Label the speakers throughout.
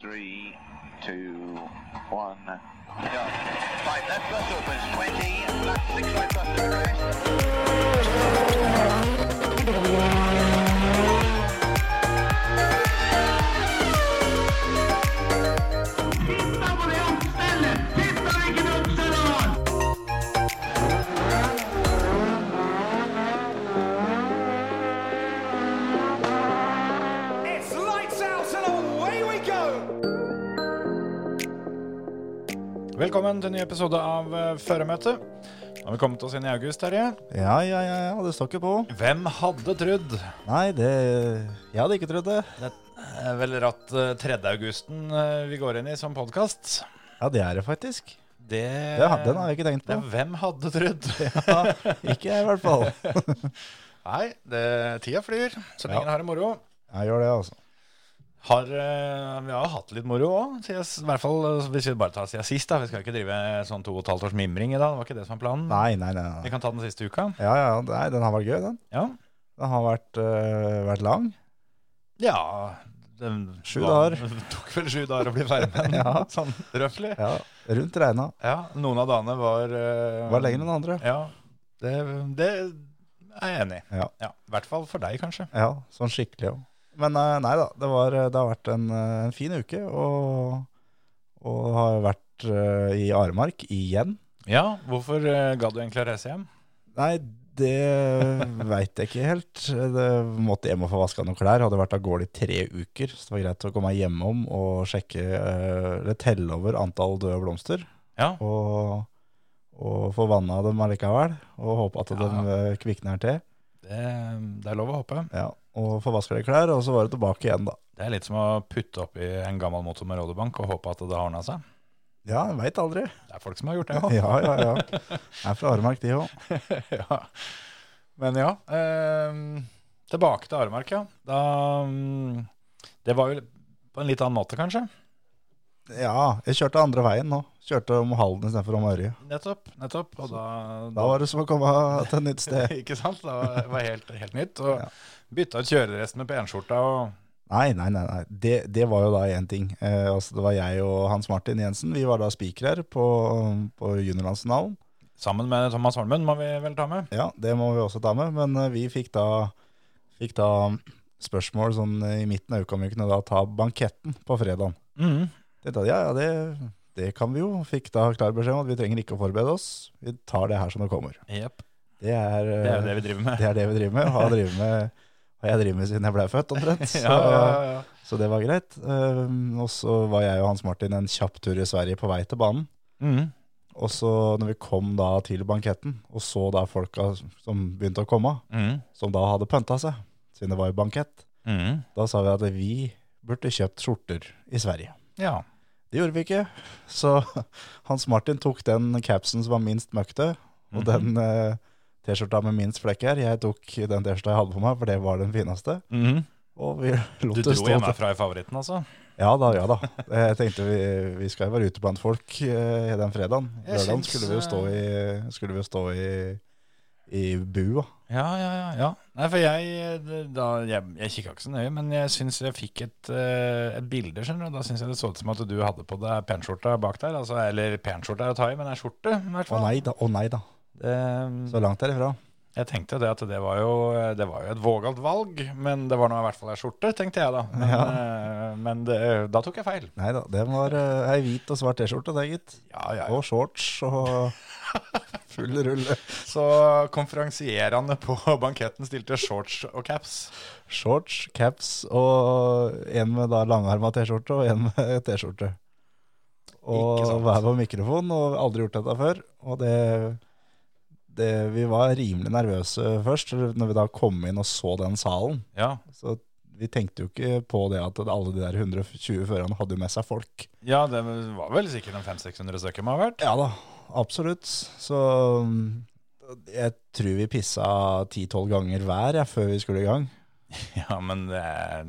Speaker 1: three, two, one, go. Five left bus opens, 20, left six right bus to arrest.
Speaker 2: It's lights out and away we go!
Speaker 3: Velkommen til en ny episode av eh, Føremøtet. Nå har vi kommet oss inn i august, Terje.
Speaker 4: Ja, ja, ja, ja, det står ikke på.
Speaker 3: Hvem hadde trodd?
Speaker 4: Nei, det Jeg hadde ikke trodd det.
Speaker 3: Det er vel ratt eh, 3. augusten eh, vi går inn i som podkast.
Speaker 4: Ja, det er det faktisk.
Speaker 3: Det,
Speaker 4: Det hadde den, har jeg ikke tenkt
Speaker 3: Det
Speaker 4: på.
Speaker 3: er hvem hadde trodd?
Speaker 4: Ja, ikke jeg, i hvert fall.
Speaker 3: Nei, det, tida flyr så lenge
Speaker 4: Ja.
Speaker 3: en har det moro.
Speaker 4: Jeg gjør det, altså.
Speaker 3: Har, eh, vi har jo hatt litt moro òg, i hvert fall eh, hvis vi bare tar siden sist. da. Vi skal ikke drive sånn to og et halvt års mimring i dag, det var ikke det som var planen.
Speaker 4: Nei, nei, nei.
Speaker 3: Vi
Speaker 4: nei.
Speaker 3: kan ta den siste uka.
Speaker 4: Ja, ja, nei, den har vært gøy, den.
Speaker 3: Ja.
Speaker 4: Den har vært, øh, vært lang.
Speaker 3: ja den,
Speaker 4: Sju
Speaker 3: var-
Speaker 4: dager.
Speaker 3: tok vel sju dager å bli ferdig med den,
Speaker 4: Ja.
Speaker 3: sånn røftlig.
Speaker 4: Ja, Rundt regna.
Speaker 3: Ja, noen av dagene var eh,
Speaker 4: Var lenger enn andre.
Speaker 3: Ja, det, det er jeg enig i.
Speaker 4: Ja.
Speaker 3: Ja, I hvert fall for deg, kanskje.
Speaker 4: ja sånn skikkelig òg. Men øh, nei da, det, var, øh, det har vært en, øh, en fin uke, og, og har vært øh, i Aremark igjen.
Speaker 3: Ja, hvorfor uh, ga du egentlig å reise hjem?
Speaker 4: Nei, det veit jeg ikke helt. Det måtte hjem og få vaska noen klær. Hadde vært av gårde i tre uker, så det var greit å komme meg hjemom og sjekke eh, Eller telle over antall døde blomster.
Speaker 3: Ja.
Speaker 4: Og, og få vanna dem allikevel. Og håpe at
Speaker 3: Ja.
Speaker 4: de eh, kvikner til.
Speaker 3: Det, det er lov å håpe.
Speaker 4: Ja, og få vaska de klær, og så var det tilbake igjen, da.
Speaker 3: Det er litt som å putte opp i en gammel motor med rådebank og håpe at det har ordna seg.
Speaker 4: Ja, veit aldri.
Speaker 3: Det er folk som har gjort det
Speaker 4: Ja,
Speaker 3: òg.
Speaker 4: ja, ja. Jeg er fra Aremark, de òg.
Speaker 3: ja. Men ja. eh, tilbake til Aremark, ja. Da, mm, det var jo på en litt annen måte, kanskje.
Speaker 4: Ja, jeg kjørte andre veien nå. Kjørte om Halden istedenfor om Ørje.
Speaker 3: Nettopp. nettopp. Og da,
Speaker 4: Da var det som å komme til et nytt sted.
Speaker 3: Ikke sant? Det var, var helt, helt nytt. Og
Speaker 4: Ja.
Speaker 3: bytta ut kjøreresten med penskjorta og
Speaker 4: Nei, nei, nei. nei. Det, det var jo da én ting. Eh, altså, det var jeg og Hans Martin Jensen. Vi var da spikere på, på juniorlandsfinalen.
Speaker 3: Sammen med Thomas Holmen må vi vel ta med.
Speaker 4: Ja, det må vi også ta med. Men eh, vi fikk da, fikk da spørsmål sånn i midten av uka om vi kunne da ta banketten på fredagen.
Speaker 3: Mm.
Speaker 4: Det da, ja, ja, det, det kan vi jo. Fikk da klar beskjed om at vi trenger ikke å forberede oss. Vi tar det her som det kommer.
Speaker 3: Jep,
Speaker 4: Det er, eh,
Speaker 3: Det er jo det vi driver med.
Speaker 4: det er det vi driver med, og har drivet med, har jeg drevet med siden jeg ble født, omtrent. Så,
Speaker 3: Ja, ja, ja.
Speaker 4: Så det var greit. Ehm, og så var jeg og Hans Martin en kjapp tur i Sverige på vei til banen.
Speaker 3: Mhm.
Speaker 4: Og så når vi kom da til banketten, og så da folka som begynte å komme,
Speaker 3: Mhm.
Speaker 4: som da hadde pønta seg, siden det var jo bankett,
Speaker 3: Mhm.
Speaker 4: da sa vi at vi burde kjøpt skjorter i Sverige.
Speaker 3: Ja.
Speaker 4: Det gjorde vi ikke. Så Hans Martin tok den capsen som var minst møkkete, og
Speaker 3: Mhm.
Speaker 4: den eh, T-skjorta med minst flekker. Jeg tok den T-skjorta jeg hadde på meg, for det var den fineste.
Speaker 3: Mhm.
Speaker 4: Og vi lot
Speaker 3: Du
Speaker 4: det
Speaker 3: dro
Speaker 4: stå til-
Speaker 3: hjemmefra i favoritten, altså?
Speaker 4: Ja da, ja da. Jeg tenkte vi, vi skal jo være ute blant folk eh, den fredagen.
Speaker 3: Jeg
Speaker 4: Lørdagen
Speaker 3: syns,
Speaker 4: skulle vi jo stå i, skulle vi jo stå i, i bua.
Speaker 3: Ja, ja, ja. ja. Nei, for jeg det- da, Jeg, jeg kikka ikke så nøye, men jeg syns jeg fikk et, eh, et bilde, skjønner du. Da syns jeg det så ut som at du hadde på deg penskjorta bak der. Altså, eller penskjorta er å ta i, men det er skjorte, i hvert
Speaker 4: Å
Speaker 3: fall.
Speaker 4: nei da, å nei da.
Speaker 3: Det-
Speaker 4: Så langt derifra.
Speaker 3: Jeg tenkte jo det at det var jo, det var jo et vågalt valg, men det var nå i hvert fall ei skjorte, tenkte jeg da. Men, eh, men det, da tok jeg feil.
Speaker 4: Nei da, det var eh, ei hvit og svart T-skjorte, det gitt.
Speaker 3: Ja, ja.
Speaker 4: Og shorts og full rulle.
Speaker 3: Så konferansierende på banketten stilte shorts og caps.
Speaker 4: Shorts, caps og en med da langarma T-skjorte og en med T-skjorte. Og
Speaker 3: Ikke sant.
Speaker 4: hver på mikrofon, og aldri gjort dette før. Og det, det Vi var rimelig nervøse først, når vi da kom inn og så den salen.
Speaker 3: Ja,
Speaker 4: Så vi tenkte jo ikke på det at alle de der 120 førerne hadde jo med seg folk.
Speaker 3: ja det var vel sikkert en 500-600 stykker må ha vært.
Speaker 4: Ja da, absolutt. Så mm, jeg tror vi pissa 10-12 ganger hver ja, før vi skulle i gang.
Speaker 3: Ja, men det,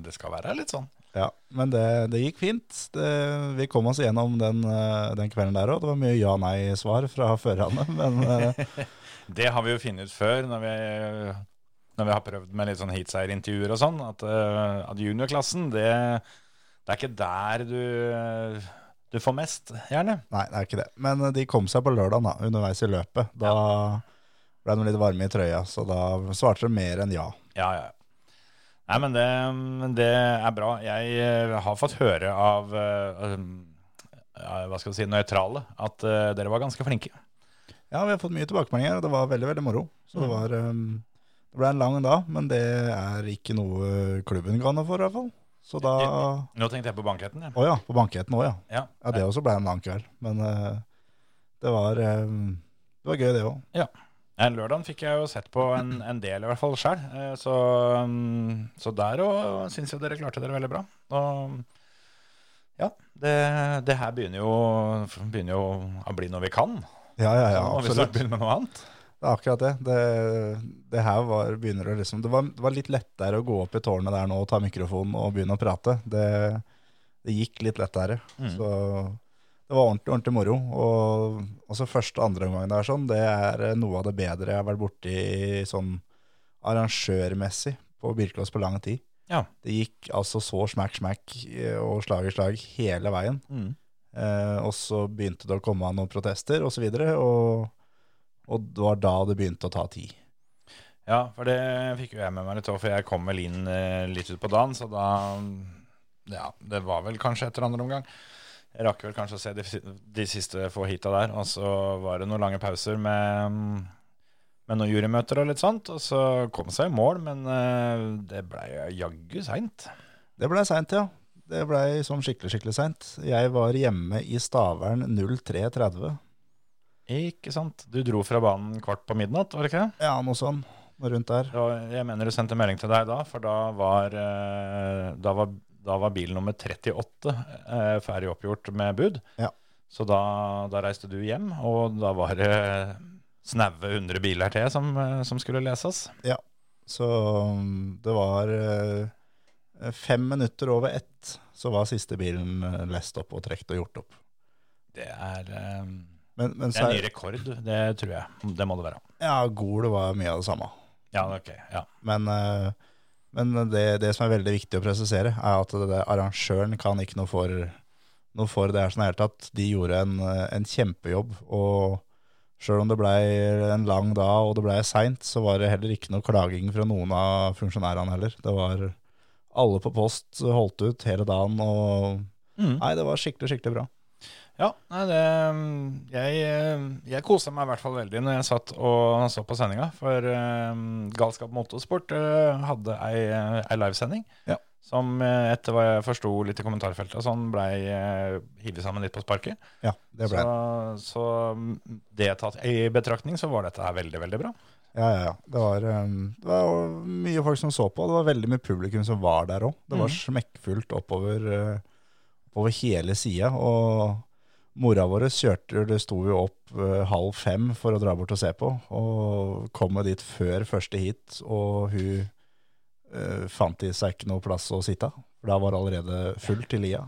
Speaker 3: det skal være litt sånn.
Speaker 4: Ja, men det, det gikk fint. Det, vi kom oss gjennom den, eh, den kvelden der òg. Det var mye ja-nei-svar fra førerne, men eh,
Speaker 3: Det har vi jo funnet ut før, når vi, når vi har prøvd med litt sånn heatseierintervjuer og sånn, at, eh, at juniorklassen, det Det er ikke der du, du får mest, gjerne.
Speaker 4: Nei, det er ikke det. Men eh, de kom seg på lørdagen da, underveis i løpet. Da ble de litt varme i trøya, så da svarte de mer enn ja.
Speaker 3: Ja, ja. Nei, men det, det er bra. Jeg eh, har fått høre av eh, um, ja, hva skal vi si, nøytrale at eh, dere var ganske flinke.
Speaker 4: Ja, vi har fått mye tilbakemeldinger, og det var veldig, veldig moro. Så det var eh, Det ble en lang dag, men det er ikke noe klubben ga noe for, i hvert fall. Så da Å
Speaker 3: Nå tenkte jeg på banketten. Ja.
Speaker 4: ja, på banketten òg, ja.
Speaker 3: Ja.
Speaker 4: Ja, det også ble en lang kveld. Men eh, det var eh, Det var gøy, det òg.
Speaker 3: Ja. Eh, Lørdagen fikk jeg jo sett på en, en del, i hvert fall sjøl. Så, mm, så der òg syns jeg dere klarte dere veldig bra. Og ja, det, det her begynner jo, begynner jo å bli noe vi kan.
Speaker 4: Ja, ja, ja,
Speaker 3: Nå må vi snart
Speaker 4: absolutt.
Speaker 3: begynne med noe annet.
Speaker 4: Det er akkurat det. Det, det her var, begynner å liksom det var, det var litt lettere å gå opp i tårnet der nå og ta mikrofonen og begynne å prate. Det, det gikk litt lettere.
Speaker 3: Mm.
Speaker 4: Så det var ordentlig, ordentlig moro. Og altså første og andre omgang der sånn, det er noe av det bedre jeg har vært borti sånn arrangørmessig på Birkelås på lang tid.
Speaker 3: Ja.
Speaker 4: Det gikk altså så smack, smack eh, og slag i slag hele veien.
Speaker 3: Mm.
Speaker 4: Eh, og så begynte det å komme noen protester osv., og, så videre, og, og det var da det begynte å ta tid.
Speaker 3: Ja, for det fikk jo jeg med meg litt òg, for jeg kom vel inn eh, litt ut på dagen, så da Ja, det var vel kanskje etter andre omgang. Jeg rakk vel kanskje å se de, si- de siste få hita der, og så var det noen lange pauser med, mm, med noen jurymøter og litt sånt, og så kom seg i mål, men eh, det blei jaggu seint.
Speaker 4: Det blei seint, ja. Det blei sånn skikkelig, skikkelig seint. Jeg var hjemme i Stavern 03.30.
Speaker 3: Ikke sant? Du dro fra banen kvart på midnatt, var det ikke det?
Speaker 4: Ja, noe sånn. Noe rundt der.
Speaker 3: Og jeg mener du sendte melding til deg da, for da var, eh, da var, da var bil nummer 38 eh, ferdig oppgjort med bud.
Speaker 4: Ja.
Speaker 3: Så da, da reiste du hjem, og da var det snaue 100 biler til som, eh, som skulle leses.
Speaker 4: Så um, det var eh, fem minutter over ett så var siste bilen eh, lest opp og trukket og gjort opp.
Speaker 3: Det er, eh,
Speaker 4: Men, men
Speaker 3: det er
Speaker 4: så
Speaker 3: en ny rekord, det tror jeg. Det må det være.
Speaker 4: Ja, Gol var mye av det samme.
Speaker 3: Ja, ok. Ja.
Speaker 4: Men, eh, men det, det som er veldig viktig å presisere, er at det der arrangøren kan ikke noe for, noe for det her sånn i det hele tatt. De gjorde en, eh, en kjempejobb, og sjøl om det blei en lang dag og det blei seint, så var det heller ikke noe klaging fra noen av funksjonærene heller. Det var alle på post holdt ut hele dagen, og
Speaker 3: Mm.
Speaker 4: Nei, det var skikkelig, skikkelig bra.
Speaker 3: Ja, nei, det, eh, jeg, eh, jeg kosa meg i hvert fall veldig når jeg satt og så på sendinga. For eh, Galskap Motorsport eh, hadde ei, eh, ei livesending
Speaker 4: Ja.
Speaker 3: som eh, etter hva jeg forsto litt i kommentarfeltet, og sånn blei uh, hivet sammen litt på sparket.
Speaker 4: Ja, det ble
Speaker 3: Så, så mm, det tatt i betraktning, så var dette her veldig, veldig bra.
Speaker 4: Ja, ja, ja. Det var, um, det var jo mye folk som så på, og det var veldig mye publikum som var der òg. Det var smekkfullt oppover, uh, oppover hele sida. Og mora vår kjørte Det sto jo opp uh, halv fem for å dra bort og se på, og kom jo dit før første hit, og hun uh, fant i seg ikke noe plass å sitte. For da var det allerede fullt i lia.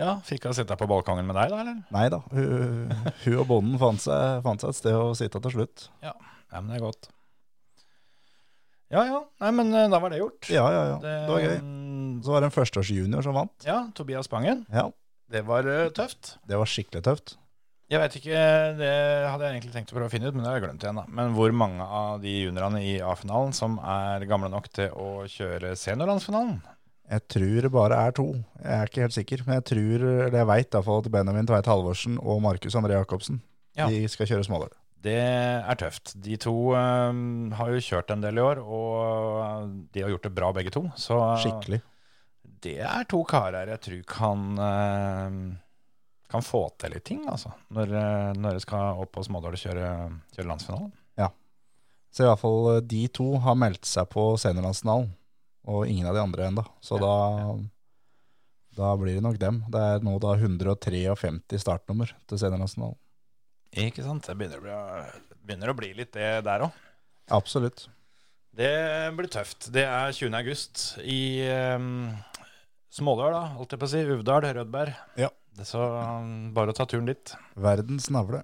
Speaker 3: Ja, Fikk jeg sitte på balkongen med deg, da, eller?
Speaker 4: Nei da, hun, hun og bonden fant seg, fant seg et sted å sitte til slutt.
Speaker 3: Ja, men det er godt. Ja ja, nei, men eh, da var det gjort.
Speaker 4: Ja, ja, ja. Det var gøy.
Speaker 3: mm,
Speaker 4: Så var det en førsteårsjunior som vant.
Speaker 3: Ja, Tobias Bangen.
Speaker 4: Ja,
Speaker 3: Det var eh, tøft.
Speaker 4: Det var skikkelig tøft.
Speaker 3: Jeg vet ikke, det hadde jeg egentlig tenkt å prøve å finne ut, men det har jeg glemt igjen. da. Men hvor mange av de juniorene i A-finalen som er gamle nok til å kjøre seniorlandsfinalen?
Speaker 4: Jeg tror det bare er to. Jeg er ikke helt sikker, men jeg tror, eller jeg veit iallfall at Benjamin Tveit Halvorsen og Markus André Jacobsen
Speaker 3: Ja.
Speaker 4: de skal kjøre smålere.
Speaker 3: Det er tøft. De to øhm, har jo kjørt en del i år, og de har gjort det bra begge to. Så
Speaker 4: Skikkelig.
Speaker 3: det er to karer jeg tror kan, øhm, kan få til litt ting, altså. Når, øh, når de skal opp og smådårlig kjøre, kjøre landsfinalen.
Speaker 4: Så i hvert fall eh, de to har meldt seg på seniorlandsfinalen, og ingen av de andre ennå. Så
Speaker 3: Ja,
Speaker 4: da, da blir det nok dem. Det er nå da 153 startnummer til seniorlandsfinalen.
Speaker 3: Ikke sant? Det begynner å bli, begynner å bli litt det der òg.
Speaker 4: Absolutt.
Speaker 3: Det blir tøft. Det er 20. august i um, Smådal, da, holdt jeg på å si. Uvdal, Rødberg.
Speaker 4: Ja.
Speaker 3: Det er så ehm, bare å ta turen dit.
Speaker 4: Verdens navle.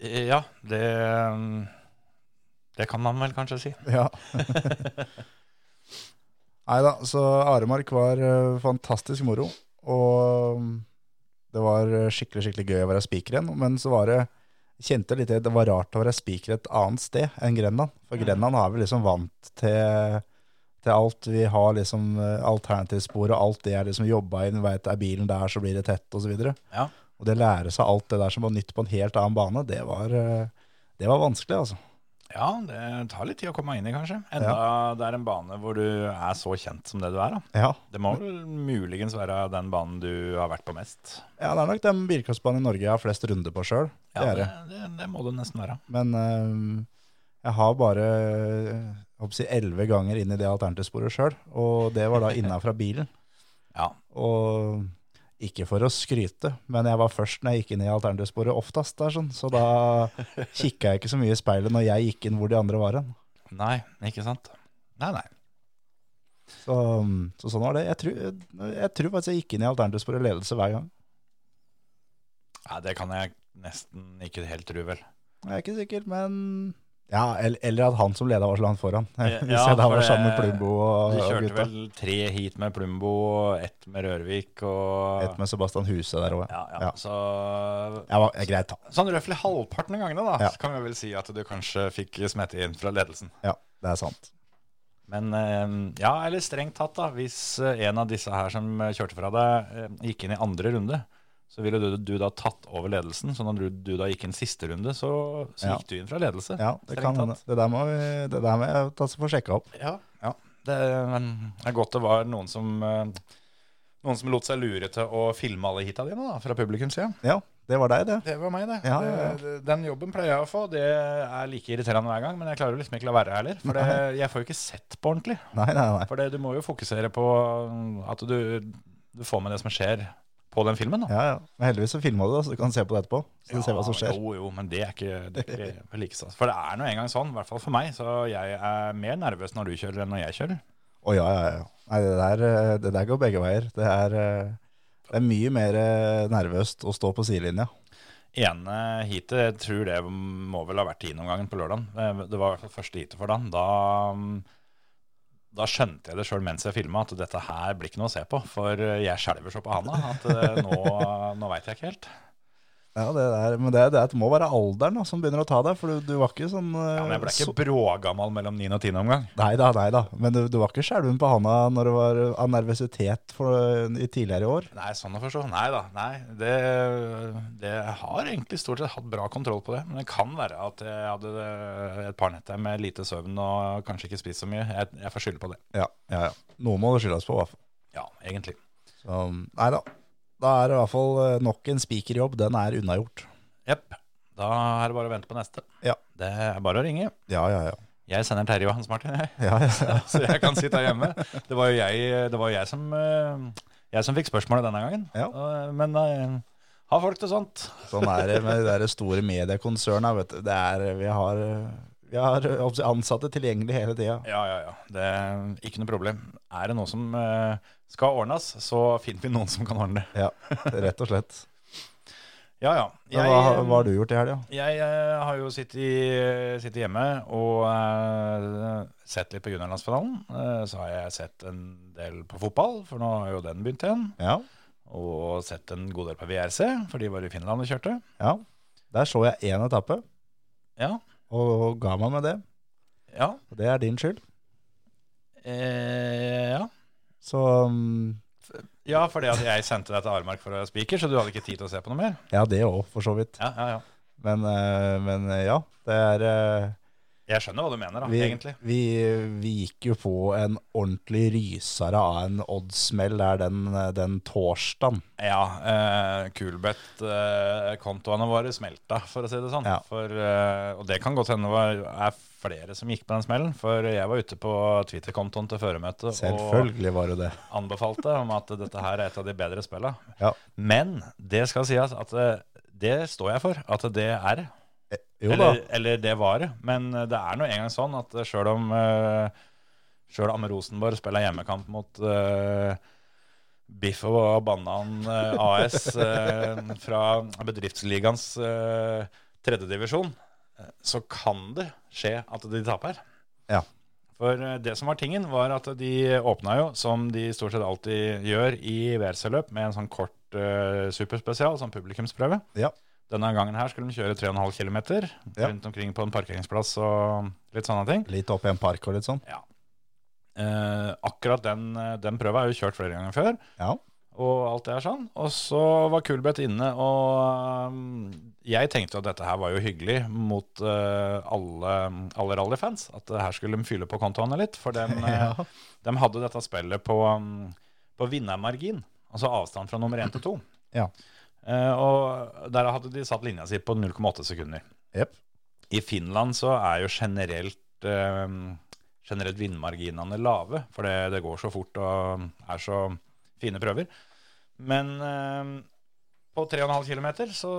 Speaker 3: Eh, Ja, det um, ehm, Det kan man vel kanskje si.
Speaker 4: Ja. Nei da, så Aremark var eh, fantastisk moro. Og mm, det var eh, skikkelig skikkelig gøy å være spiker igjen. Men så var det kjente litt det var rart å være spiker et annet sted enn Grenland. For Grenland er vi liksom vant til, til alt. Vi har liksom eh, alternativspor og alt det er liksom jobba inn. Vet, er bilen der, så blir det tett, osv. Og, så
Speaker 3: Ja.
Speaker 4: og det lære seg alt det der som var nytt på en helt annen bane, det var, eh, det var vanskelig, altså.
Speaker 3: Ja, det tar litt tid å komme inn i, kanskje. Enda det er en bane hvor du er så kjent som det du er. da.
Speaker 4: Ja.
Speaker 3: Det må vel muligens være den banen du har vært på mest.
Speaker 4: ja, det er nok den bilcrossbanen i Norge jeg har flest runder på sjøl.
Speaker 3: Ja,
Speaker 4: det er det.
Speaker 3: det, det, det må du nesten være.
Speaker 4: Men eh, jeg har bare eh, elleve ganger inn i det alternativsporet sjøl, og det var da innenfra bilen.
Speaker 3: Ja.
Speaker 4: Og ikke for å skryte, men jeg var først når jeg gikk inn i alternativsporet oftest. Der, sånn. Så da kikka jeg ikke så mye i speilet når jeg gikk inn hvor de andre var hen.
Speaker 3: Nei, ikke sant? Nei, nei.
Speaker 4: Så, så sånn var det. Jeg tror, jeg tror faktisk jeg gikk inn i alternativsporet ledelse hver gang.
Speaker 3: Nei, Det kan jeg nesten ikke helt tro, vel.
Speaker 4: Jeg er ikke sikker, men ja, el- Eller at han som leda var så langt foran.
Speaker 3: Eh, Ja,
Speaker 4: Hvis jeg da
Speaker 3: for
Speaker 4: var sammen med
Speaker 3: det-
Speaker 4: Plumbo og,
Speaker 3: Du
Speaker 4: og
Speaker 3: kjørte
Speaker 4: gutta.
Speaker 3: vel tre hit med Plumbo og ett med Rørvik og
Speaker 4: Et med Sebastian Huse der òg.
Speaker 3: ja, ja.
Speaker 4: Ja.
Speaker 3: Så
Speaker 4: Jeg var jeg- greit, da.
Speaker 3: sånn røftlig halvparten av gangene, da,
Speaker 4: Ja.
Speaker 3: så kan vi vel si at du kanskje fikk smette inn fra ledelsen.
Speaker 4: Ja, det er sant.
Speaker 3: Men eh, ja, eller strengt tatt, da. Hvis eh, en av disse her som eh, kjørte fra deg, eh, gikk inn i andre runde, så ville du, du da tatt over ledelsen. Så når du, du da gikk inn siste runde, så, så
Speaker 4: Ja.
Speaker 3: gikk du inn fra ledelse.
Speaker 4: Ja, det, kan,
Speaker 3: Strengt
Speaker 4: hende.
Speaker 3: tatt.
Speaker 4: det, der må, vi- det der må jeg ta så få sjekka opp.
Speaker 3: Ja. Det, men, det er godt det var noen som eh, noen som lot seg lure til å filme alle hita dine da, fra publikums side.
Speaker 4: Ja, det var deg, det.
Speaker 3: Det var meg, det.
Speaker 4: Ja, ja, ja.
Speaker 3: Det- det- Den jobben pleier jeg å få. Det er like irriterende hver gang, men jeg klarer jo liksom ikke la være heller. For det, jeg får jo ikke sett på ordentlig.
Speaker 4: Nei, nei, nei.
Speaker 3: For det, du må jo fokusere på mm, at du, du får med det som skjer på den filmen. Da.
Speaker 4: Ja, ja. Men heldigvis så filma du det, så du kan se på det etterpå. Så du ser hva som skjer.
Speaker 3: Jo, jo, men det er ikke, det er ikke like stas. For det er nå engang sånn, i hvert fall for meg. Så jeg er mer nervøs når du kjører enn når jeg kjører.
Speaker 4: Å ja, ja, ja. Nei, det der, eh, det der går begge veier. Det er, eh, det er mye mer eh, nervøst å stå på sidelinja.
Speaker 3: Ene heatet, jeg tror det må vel ha vært tiendeomgangen på lørdagen. Eh, Det var i hvert fall første heatet for dagen. Da, mm, da skjønte jeg det sjøl mens jeg filma, at dette her blir ikke noe å se på. For eh, jeg skjelver så på handa at eh, nå, nå veit jeg ikke helt.
Speaker 4: Ja, det der, men det, det er- det må være alderen da, som begynner å ta deg, for du, du var ikke sånn eh,
Speaker 3: Ja, men jeg ble
Speaker 4: så-
Speaker 3: ikke brågammal mellom niende og tiende omgang.
Speaker 4: Nei da, nei da. Men du, du var ikke skjelven på handa når det var eh, av nervøsitet for, i tidligere år?
Speaker 3: Nei, sånn å forstå. Nei da. Nei, det, det jeg har egentlig stort sett hatt bra kontroll på det. Men det kan være at jeg hadde eh, et par netter med lite søvn og kanskje ikke spist så mye. Jeg, jeg får skylde på det.
Speaker 4: Ja, ja, ja. Noe må du skylde oss på, i hvert fall.
Speaker 3: Ja, egentlig.
Speaker 4: Så, nei da. Da er det i hvert fall eh, nok en spikerjobb. Den er unnagjort.
Speaker 3: Jepp. Da er det bare å vente på neste.
Speaker 4: Ja.
Speaker 3: Det er bare å ringe.
Speaker 4: Ja, ja, ja.
Speaker 3: Jeg sender Terje og Hans Martin, jeg.
Speaker 4: ja, ja, ja.
Speaker 3: så jeg kan sitte her hjemme. Det var jo jeg, det var jo jeg som eh, Jeg som fikk spørsmålet denne gangen.
Speaker 4: Ja.
Speaker 3: Eh, Men eh, har folk til sånt?
Speaker 4: Sånn er det med de der store mediekonsernene. vet du. Det er, vi har, eh, vi har eh, oppsi- ansatte tilgjengelig hele tida.
Speaker 3: Ja, ja, ja. Det er ikke noe problem. Er det noe som eh, skal ordnes, så finner vi noen som kan ordne det.
Speaker 4: Ja, rett og slett.
Speaker 3: Ja, ja.
Speaker 4: Men hva, har- hva har du gjort i helga?
Speaker 3: Jeg eh, har jo sittet, i, sittet hjemme og eh, sett litt på juniorlandsfinalen. Eh, så har jeg sett en del på fotball, for nå har jo den begynt igjen.
Speaker 4: Ja,
Speaker 3: Og sett en god del på VRC, for de var i Finland og kjørte.
Speaker 4: ja. Der så jeg én etappe,
Speaker 3: Ja,
Speaker 4: og, og ga meg med det.
Speaker 3: ja,
Speaker 4: Og det er din skyld.
Speaker 3: eh, ja.
Speaker 4: Så mm,
Speaker 3: Ja, fordi at jeg sendte deg til Aremark for å spiker, så du hadde ikke tid til å se på noe mer.
Speaker 4: ja, det òg, for så vidt.
Speaker 3: Ja, ja, ja.
Speaker 4: Men, eh, men eh, ja, det er eh,
Speaker 3: Jeg skjønner hva du mener, da,
Speaker 4: vi,
Speaker 3: egentlig.
Speaker 4: Vi, vi gikk jo på en ordentlig rysere av en oddsmell der den, den torsdagen.
Speaker 3: Ja, eh, Kulbeth-kontoene våre smelta, for å si det sånn.
Speaker 4: Ja.
Speaker 3: For, eh, og det kan godt hende det var, er flere som gikk på den smellen. For jeg var ute på Twitter-kontoen til føremøtet og
Speaker 4: Selvfølgelig var det det.
Speaker 3: anbefalte om at dette her er et av de bedre spilla.
Speaker 4: Ja.
Speaker 3: Men det skal sies at eh, det står jeg for. At det er det.
Speaker 4: Eh, Jo da.
Speaker 3: Eller, eller det var det. Men eh, det er nå engang sånn at sjøl om eh, Sjøl om Rosenborg spiller hjemmekamp mot eh, Biff og Banan eh, AS eh, fra eh, bedriftsligaens eh, uh, tredjedivisjon, så kan det skje at de taper.
Speaker 4: Ja.
Speaker 3: For eh, det som var tingen, var at de åpna jo, som de stort sett alltid gjør i WRC-løp, med en sånn kort eh, superspesial, sånn publikumsprøve.
Speaker 4: Ja.
Speaker 3: Denne gangen her skulle de kjøre 3,5 km
Speaker 4: Ja.
Speaker 3: rundt omkring på en parkeringsplass og litt sånne ting.
Speaker 4: Litt opp i en park og litt sånn.
Speaker 3: Eh, akkurat den, eh, den prøva er jo kjørt flere ganger før.
Speaker 4: Ja.
Speaker 3: og alt det her sånn. Og så var Kulbeth inne, og um, jeg tenkte at dette her var jo hyggelig mot uh, alle, alle rallyfans. At uh, her skulle de fylle på kontoene litt, for de,
Speaker 4: Ja.
Speaker 3: hadde dette spillet på, um, på vinnermargin. Altså avstand fra nummer én til to.
Speaker 4: Ja.
Speaker 3: Eh, og der hadde de satt linja si på 0,8 sekunder.
Speaker 4: Jep.
Speaker 3: I Finland så er jo generelt eh, Generelt vindmarginene lave, for det, det går så fort og er så fine prøver. Men eh, på 3,5 km så,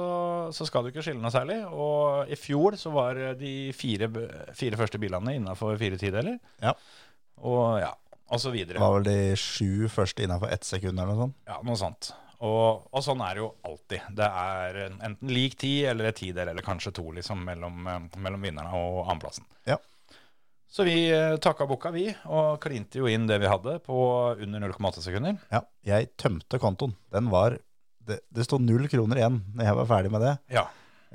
Speaker 3: så skal du ikke skille noe særlig. Og i fjor så var de fire, b- fire første bilene innafor fire tideler.
Speaker 4: Ja.
Speaker 3: Og ja, og så
Speaker 4: Det
Speaker 3: videre.
Speaker 4: var vel de sju første innafor ett sekund eller noe sånt.
Speaker 3: Ja, noe sånt. Og, og sånn er det jo alltid. Det er en- enten lik ti eller et tidel, eller kanskje to, liksom, mellom, eh, mellom vinnerne og annenplassen.
Speaker 4: Ja.
Speaker 3: Så vi eh, takka boka, vi, og klinte jo inn det vi hadde på under 0,8 sekunder.
Speaker 4: Ja. Jeg tømte kontoen. Den var Det, det sto null kroner igjen når jeg var ferdig med det.
Speaker 3: Ja.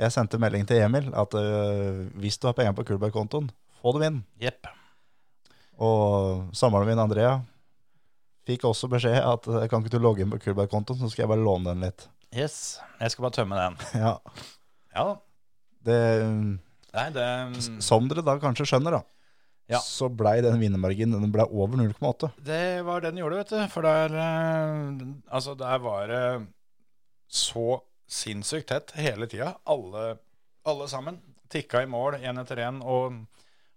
Speaker 4: Jeg sendte melding til Emil at øh, hvis du har penger på Kulberg-kontoen, få dem inn.
Speaker 3: Jepp.
Speaker 4: Og samboeren min, Andrea, fikk også beskjed at øh, kan ikke du logge inn på Kulberg-kontoen, så skal jeg bare låne den litt.
Speaker 3: Yes. Jeg skal bare tømme den.
Speaker 4: Ja,
Speaker 3: Ja da.
Speaker 4: det,
Speaker 3: Nei, det, mm,
Speaker 4: Som dere da kanskje skjønner, da,
Speaker 3: Ja.
Speaker 4: så blei den vinnermarginen den ble over 0,8.
Speaker 3: det var det den gjorde, vet du. For der eh, Altså, der var det så sinnssykt tett hele tida. Alle, alle sammen tikka i mål én etter én og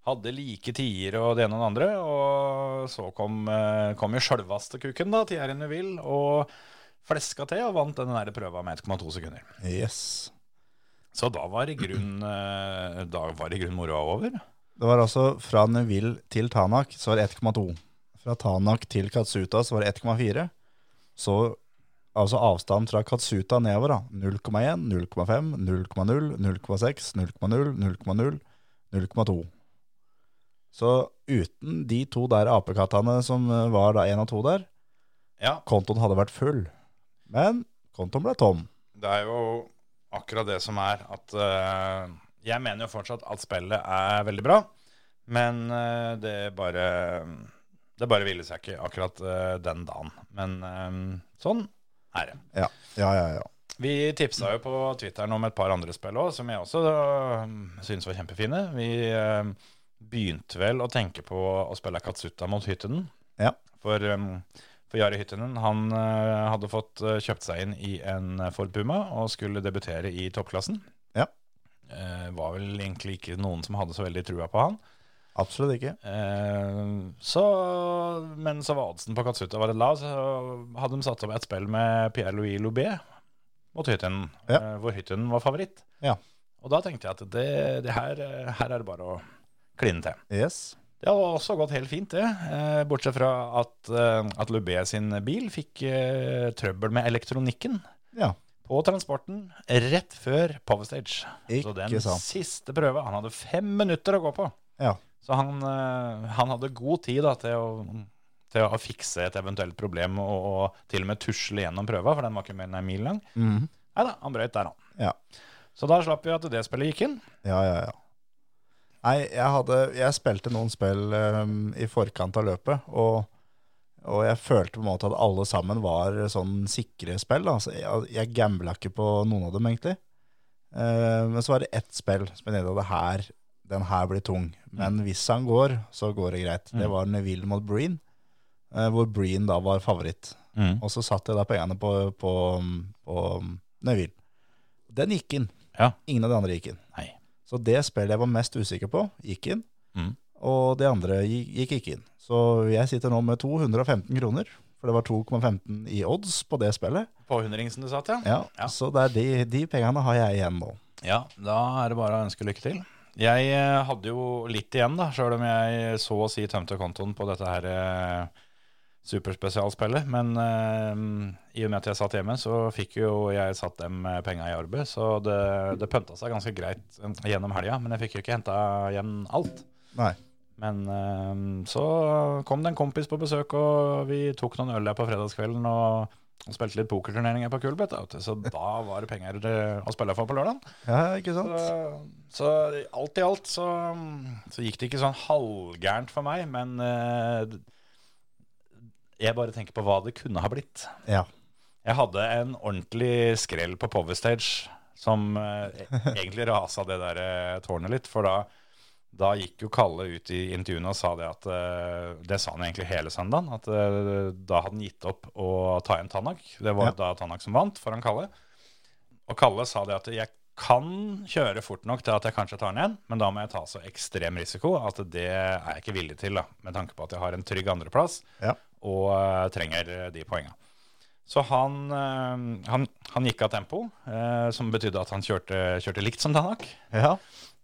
Speaker 3: hadde like tider og det ene og det andre. Og så kom, eh, kom jo sjølvaste kuken, da, til Jerry Neville, og fleska til og vant den der prøva med 1,2 sekunder.
Speaker 4: Yes.
Speaker 3: Så da var i grunnen eh, Da var i grunnen moroa over.
Speaker 4: Det var altså fra Neville til Tanak, så var det 1,2. Fra Tanak til Katsuta, så var det 1,4. Så altså avstanden fra Katsuta nedover, da. 0,1, 0,5, 0,0, 0,6, 0,0, 0,0, 0,2. Så uten de to der apekattene som eh, var da én og to der,
Speaker 3: Ja,
Speaker 4: kontoen hadde vært full. Men kontoen ble tom.
Speaker 3: Det er jo akkurat det som er at eh, Jeg mener jo fortsatt at spillet er veldig bra, men eh, det bare Det bare ville seg ikke akkurat eh, den dagen. Men eh, sånn er det.
Speaker 4: Ja, ja, ja. ja.
Speaker 3: Vi tipsa jo på Twitteren om et par andre spill òg, som jeg også eh, synes var kjempefine. Vi eh, begynte vel å tenke på å spille Katsuta mot Hyttenen.
Speaker 4: Ja.
Speaker 3: For, um, for Jari Hyttinen han eh, hadde fått eh, kjøpt seg inn i en eh, Ford Puma og skulle debutere i toppklassen.
Speaker 4: Ja.
Speaker 3: Eh, var vel egentlig ikke noen som hadde så veldig trua på han.
Speaker 4: Absolutt ikke.
Speaker 3: Eh, så, men så var oddsen på Katsuta var litt lav, så hadde de satt opp et spill med Pierre-Louis Loubet mot Hyttinen,
Speaker 4: Ja.
Speaker 3: eh, hvor Hyttinen var favoritt.
Speaker 4: Ja.
Speaker 3: Og da tenkte jeg at det, det her, eh, her er det bare å kline til.
Speaker 4: Yes.
Speaker 3: Det har også gått helt fint, det. Eh, Bortsett fra at, eh, at Loubet sin bil fikk eh, trøbbel med elektronikken
Speaker 4: Ja.
Speaker 3: på transporten rett før Power Stage. Så den
Speaker 4: Ikke sant.
Speaker 3: siste prøva Han hadde fem minutter å gå på.
Speaker 4: Ja.
Speaker 3: Så han, eh, han hadde god tid da, til, å, til å fikse et eventuelt problem og, og til og med tusle gjennom prøva, for den var ikke mer enn en mil lang.
Speaker 4: Mhm.
Speaker 3: Nei da, han brøyt der, han.
Speaker 4: Ja.
Speaker 3: Så da slapp vi at det spillet gikk inn.
Speaker 4: Ja, ja, ja. Nei, jeg, hadde, jeg spilte noen spill ehm, i forkant av løpet, og, og jeg følte på en måte at alle sammen var sånn sikre spill. da. Så jeg, jeg gambla ikke på noen av dem, egentlig. Eh, men så var det ett spill som jeg tenkte at det her, den her blir tung. Men hvis han går, så går det greit. Det var Neville mot Breen, eh, hvor Breen da var favoritt. Og så satte jeg da pengene på, på, på ehm, Neville. Den gikk inn.
Speaker 3: Ja.
Speaker 4: Ingen av de andre gikk inn.
Speaker 3: Nei.
Speaker 4: Så det spillet jeg var mest usikker på, gikk inn.
Speaker 3: Mm.
Speaker 4: Og det andre gi- gikk ikke inn. Så jeg sitter nå med 215 kroner, for det var 2,15 i odds på det spillet.
Speaker 3: Påhundringsen du sa til?
Speaker 4: Ja,
Speaker 3: Ja.
Speaker 4: Så det er de, de pengene har jeg igjen nå.
Speaker 3: Ja, da er det bare å ønske lykke til. Jeg eh, hadde jo litt igjen, da, sjøl om jeg så å si tømte kontoen på dette her eh, superspesialspillet. Men eh, i og med at jeg satt hjemme, så fikk jo jeg satt dem eh, penga i arbeid. Så det, det pønta seg ganske greit eh, gjennom helga, men jeg fikk jo ikke henta igjen alt.
Speaker 4: Nei.
Speaker 3: Men eh, så kom det en kompis på besøk, og vi tok noen øl der på fredagskvelden og, og spilte litt pokerturneringer på Kulbeth. da, vet du. Så da var det penger til å spille for på lørdagen.
Speaker 4: Ja, ikke sant?
Speaker 3: Så, så alt i alt så, så gikk det ikke sånn halvgærent for meg, men eh, jeg bare tenker på hva det kunne ha blitt.
Speaker 4: Ja.
Speaker 3: Jeg hadde en ordentlig skrell på Power Stage som eh, egentlig rasa det der eh, tårnet litt, for da, da gikk jo Kalle ut i intervjuene og sa det at eh, Det sa han egentlig hele søndagen, at eh, da hadde han gitt opp å ta igjen Tanak. Det var
Speaker 4: Ja.
Speaker 3: da Tanak som vant foran Kalle. Og Kalle sa det at jeg kan kjøre fort nok til at jeg kanskje tar den igjen, men da må jeg ta så ekstrem risiko at det er jeg ikke villig til, da, med tanke på at jeg har en trygg andreplass
Speaker 4: Ja.
Speaker 3: og eh, trenger eh, de poenga. Så han, eh, han, han gikk av tempo, eh, som betydde at han kjørte, kjørte likt som Tanak.
Speaker 4: Ja.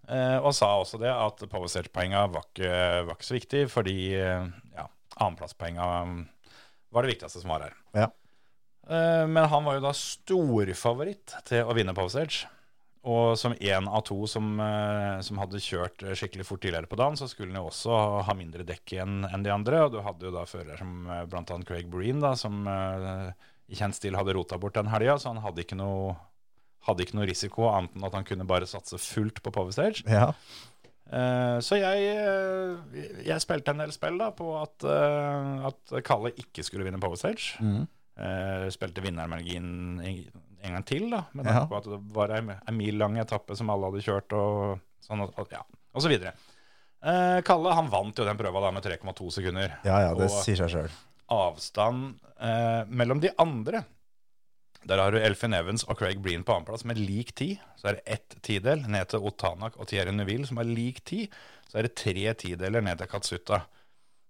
Speaker 3: Eh, og sa også det at Powerstage-poenga var, ikke- var ikke så viktig, fordi eh, ja, annenplasspoenga um, var det viktigste som var her.
Speaker 4: Ja.
Speaker 3: Eh, men han var jo da storfavoritt til å vinne Powerstage. Og som én av to som, eh, som hadde kjørt skikkelig fort tidligere på dagen, så skulle han jo også ha mindre dekk igjen enn de andre. Og du hadde jo da fører som eh, blant annet Craig Breen, da, som eh, i kjent stil hadde rota bort den helga, så han hadde ikke noe hadde ikke noe risiko annet enn at han kunne bare satse fullt på Powerstage.
Speaker 4: ja.
Speaker 3: Eh, så jeg, eh, jeg spilte en del spill da på at, eh, at Kalle ikke skulle vinne Powerstage.
Speaker 4: Mhm.
Speaker 3: Eh, spilte vinnermarginen en, en gang til, da, med
Speaker 4: Ja.
Speaker 3: tanke på at det var ei ei mil lang etappe som alle hadde kjørt, og sånn, og, og, ja, og så videre. Eh, Kalle han vant jo den prøva da med 3,2 sekunder.
Speaker 4: ja, ja, det
Speaker 3: Og-
Speaker 4: sier seg sjøl.
Speaker 3: Avstand eh, mellom de andre Der har du Elfin Evans og Craig Breen på annenplass med lik ti. Så er det ett tidel ned til Otanak og Thierry Neuville, som har lik ti. Så er det tre tideler ned til Katsuta.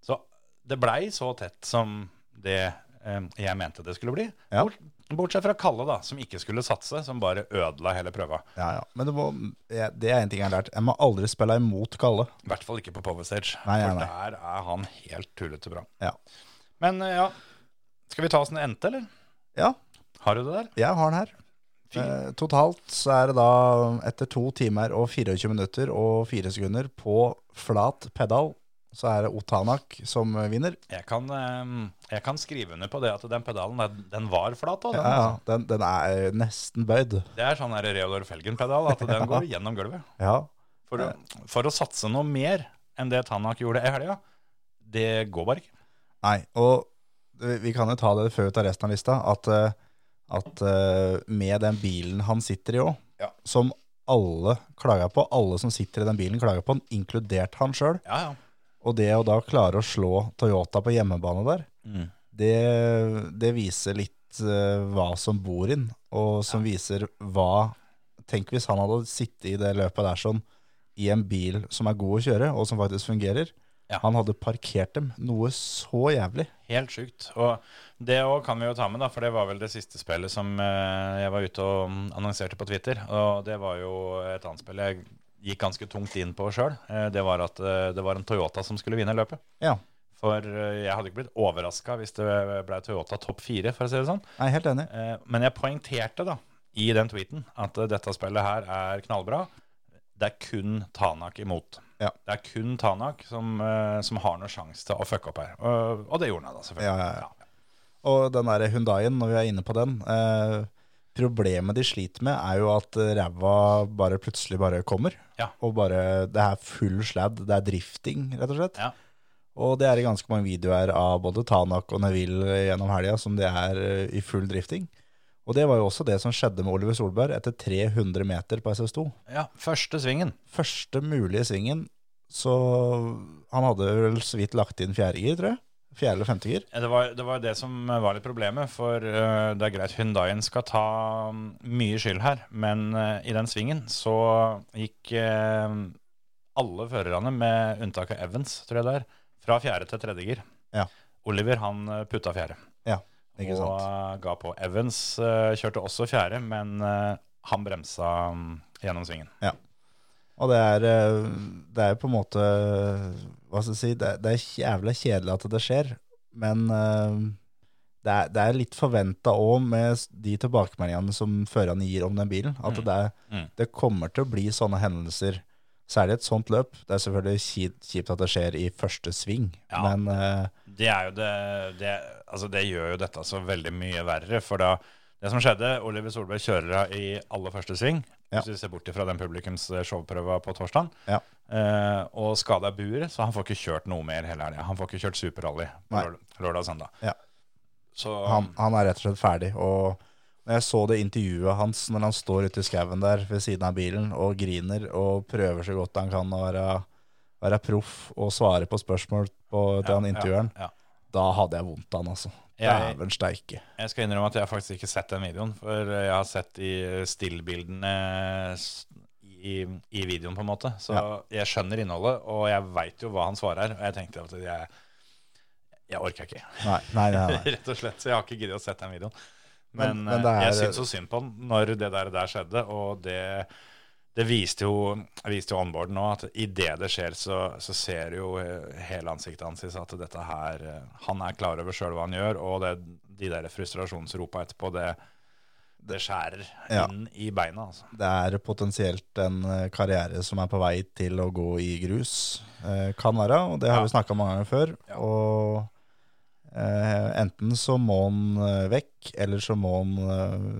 Speaker 3: Så det blei så tett som det eh, jeg mente det skulle bli.
Speaker 4: Ja.
Speaker 3: Bort, bortsett fra Kalle, da, som ikke skulle satse, som bare ødela hele prøva.
Speaker 4: Ja, ja. Men det, må, ja, det er en ting jeg har lært. Jeg må aldri spille imot Kalle.
Speaker 3: I hvert fall ikke på Power Stage,
Speaker 4: Nei, nei,
Speaker 3: for
Speaker 4: nei.
Speaker 3: der er han helt tullete bra.
Speaker 4: Ja.
Speaker 3: Men eh, ja, skal vi ta oss en endte, eller?
Speaker 4: ja,
Speaker 3: Har du det der?
Speaker 4: jeg har den her.
Speaker 3: Fin.
Speaker 4: Eh, totalt så er det da etter to timer og 24 minutter og 4 sekunder på flat pedal, så er det Otanak som vinner.
Speaker 3: Jeg kan, ehm, jeg kan skrive under på det at den pedalen den, den var flat. Også,
Speaker 4: Ja,
Speaker 3: den,
Speaker 4: ja. Den, den er nesten bøyd.
Speaker 3: Det er sånn der Reodor Felgen-pedal, at den går gjennom gulvet.
Speaker 4: Ja.
Speaker 3: For, å- for å satse noe mer enn det Tanak gjorde i helga, det går bare ikke.
Speaker 4: Nei, og vi vi kan jo ta det før vi tar resten av lista, at, eh, at eh, med den bilen han sitter i òg,
Speaker 3: Ja.
Speaker 4: som alle klager på, alle som sitter i den bilen klager på den, inkludert han sjøl,
Speaker 3: Ja, ja.
Speaker 4: og det å da klare å slå Toyota på hjemmebane der,
Speaker 3: Mm.
Speaker 4: det, det viser litt eh, hva som bor inn, og som viser hva Tenk hvis han hadde sittet i det løpet der sånn, i en bil som er god å kjøre, og som faktisk fungerer.
Speaker 3: Ja.
Speaker 4: Han hadde parkert dem noe så jævlig.
Speaker 3: Helt sjukt. Og det òg kan vi jo ta med, da, for det var vel det siste spillet som eh, jeg var ute og mm, annonserte på Twitter. Og det var jo et annet spill jeg gikk ganske tungt inn på sjøl. Det var at eh, det var en Toyota som skulle vinne løpet.
Speaker 4: Ja.
Speaker 3: For eh, jeg hadde ikke blitt overraska hvis det ble Toyota topp fire, for å si det sånn.
Speaker 4: Jeg er helt enig.
Speaker 3: Eh, Men jeg poengterte da i den tweeten at eh, dette spillet her er knallbra. Det er kun Tanak imot.
Speaker 4: Ja.
Speaker 3: Det er kun Tanak som, eh, som har noen sjanse til å fucke opp her. Og, og det gjorde han da, selvfølgelig.
Speaker 4: Ja, ja, ja. Og den der Hyundaien, når vi er inne på den eh, Problemet de sliter med er jo at eh, ræva bare plutselig bare kommer.
Speaker 3: Ja.
Speaker 4: Og bare Det er full sladd. Det er drifting, rett og slett.
Speaker 3: Ja.
Speaker 4: Og det er i ganske mange videoer av både Tanak og Neville gjennom helga som det er eh, i full drifting. Og det var jo også det som skjedde med Oliver Solberg etter 300 meter på SS2.
Speaker 3: Ja, første svingen.
Speaker 4: Første mulige svingen, så Han hadde vel så vidt lagt inn fjerde gir, tror jeg. Fjerde eller femte gir.
Speaker 3: Eh, Det var, det var det som eh, var litt problemet, for eh, det er greit Hyundaien skal ta mm, mye skyld her, men eh, i den svingen så gikk eh, alle førerne, med unntak av Evans, tror jeg det er, fra fjerde til tredje gir.
Speaker 4: Ja.
Speaker 3: Oliver han eh, putta fjerde,
Speaker 4: Ikke
Speaker 3: og
Speaker 4: sant?
Speaker 3: eh, ga på. Evans eh, kjørte også fjerde, men eh, han bremsa mm, gjennom svingen.
Speaker 4: Og det er, eh, det er på en måte Hva skal jeg si Det, det er jævla kjedelig at det skjer, men eh, det er, det er litt forventa òg med s- de tilbakemeldingene som førerne gir om den bilen. At
Speaker 3: Mm.
Speaker 4: det, er,
Speaker 3: Mm.
Speaker 4: det kommer til å bli sånne hendelser Særlig et sånt løp. Det er selvfølgelig kjipt, kjipt at det skjer i første sving,
Speaker 3: Ja.
Speaker 4: men eh,
Speaker 3: Det er jo det, det Altså, det gjør jo dette så veldig mye verre. For da Det som skjedde, Oliver Solberg kjører av i aller første sving.
Speaker 4: Ja.
Speaker 3: Hvis vi ser bort fra den publikums showprøva på torsdag.
Speaker 4: Ja.
Speaker 3: Eh, og skada buer, så han får ikke kjørt noe mer hele helga. Han får ikke kjørt superrally på
Speaker 4: Nei.
Speaker 3: lørd- lørdag og søndag.
Speaker 4: Ja.
Speaker 3: Så
Speaker 4: han, han er rett og slett ferdig. Og når jeg så det intervjuet hans når han står ute i skauen der ved siden av bilen og griner og prøver så godt han kan å være, være proff og svare på spørsmål på, til han intervjueren,
Speaker 3: Ja, ja.
Speaker 4: da hadde jeg vondt av han, altså.
Speaker 3: Jeg-
Speaker 4: Dæven steike.
Speaker 3: Jeg skal innrømme at jeg har faktisk ikke sett den videoen, for jeg har sett de stillbildene s- i, i videoen, på en måte. Så jeg skjønner innholdet, og jeg veit jo hva han svarer. Og jeg tenkte at jeg, jeg orker ikke,
Speaker 4: Nei, nei, nei. nei.
Speaker 3: rett og slett. Så jeg har ikke giddet å sett den videoen. Men,
Speaker 4: Men- men det
Speaker 3: eh, jeg
Speaker 4: er-
Speaker 3: syns så synd på han når det der, der skjedde, og det, det viste jo, viste jo onboarden nå at idet det skjer, så, så ser jo eh, hele ansiktet hans i seg at dette her eh, Han er klar over sjøl hva han gjør, og det, de der frustrasjonsropa etterpå, det, det skjærer
Speaker 4: Ja.
Speaker 3: inn i beina, altså.
Speaker 4: Det er potensielt en eh, karriere som er på vei til å gå i grus. Eh, kan være, og det har
Speaker 3: Ja.
Speaker 4: vi snakka om mange ganger før. Og eh, enten så må han eh, vekk, eller så må han eh,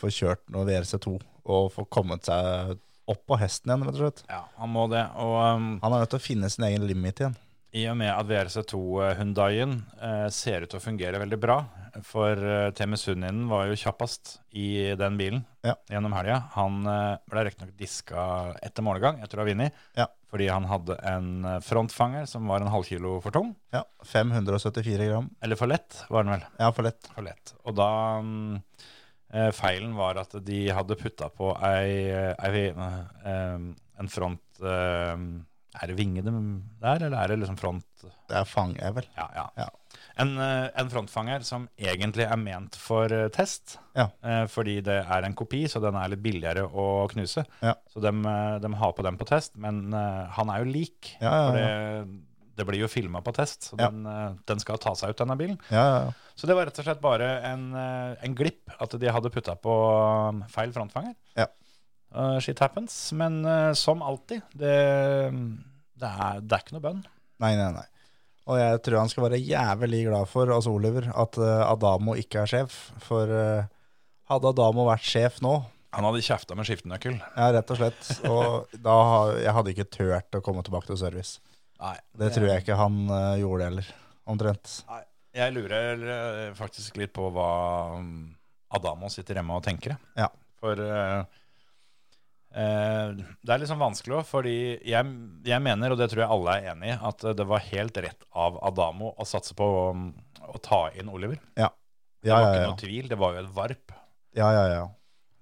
Speaker 4: få kjørt noe VRC2 og få kommet seg opp på hesten igjen, rett og slett.
Speaker 3: Ja, han må det. Og um,
Speaker 4: Han er nødt til å finne sin egen limit igjen.
Speaker 3: I og med at VRC2-Hundaien eh, ser ut til å fungere veldig bra, for eh, Temi Sunninen var jo kjappest i den bilen
Speaker 4: Ja.
Speaker 3: gjennom helga. Han eh, ble riktignok diska etter målgang etter å ha vunnet,
Speaker 4: Ja.
Speaker 3: fordi han hadde en eh, frontfanger som var en halv kilo for tung.
Speaker 4: Ja, 574 gram.
Speaker 3: Eller for lett, var den vel.
Speaker 4: Ja, for lett.
Speaker 3: For lett. Og da mm, eh, Feilen var at de hadde putta på ei, ei eh, en front eh, Er det vinge dem der, eller er det liksom front
Speaker 4: Det er fang, jeg vel.
Speaker 3: ja, ja.
Speaker 4: Ja.
Speaker 3: En, eh, en frontfanger som egentlig er ment for eh, test,
Speaker 4: Ja.
Speaker 3: eh, fordi det er en kopi, så den er litt billigere å knuse.
Speaker 4: Ja.
Speaker 3: Så de, har på den på test, men eh, han er jo lik.
Speaker 4: Ja, ja,
Speaker 3: For det, det blir jo filma på test, så
Speaker 4: Ja.
Speaker 3: den, eh, den skal ta seg ut, denne bilen.
Speaker 4: Ja, ja, ja.
Speaker 3: Så det var rett og slett bare en, eh, en glipp at de hadde putta på um, feil frontfanger.
Speaker 4: Ja.
Speaker 3: Eh, shit happens. Men eh, som alltid, det, det, er, det er ikke noe bønn.
Speaker 4: Nei, nei, nei. Og jeg tror han skal være jævlig glad for, altså Oliver, at eh, Adamo ikke er sjef. For eh, hadde Adamo vært sjef nå,
Speaker 3: Han hadde kjefta med skiftenøkkel.
Speaker 4: ja, rett og slett, og da ha- jeg hadde ikke tørt å komme tilbake til service.
Speaker 3: Nei,
Speaker 4: Det tror jeg ikke han eh, gjorde heller, omtrent.
Speaker 3: Nei, jeg lurer eh, faktisk litt på hva mm, Adamo sitter hjemme og tenker. jeg.
Speaker 4: Ja.
Speaker 3: For eh, eh, det er liksom vanskelig òg, fordi jeg, jeg mener, og det tror jeg alle er enig i, at eh, det var helt rett av Adamo å satse på mm, å ta inn Oliver. Det
Speaker 4: Ja,
Speaker 3: var
Speaker 4: ja,
Speaker 3: ikke
Speaker 4: ja.
Speaker 3: noe tvil, det var jo et varp.
Speaker 4: ja, ja, ja.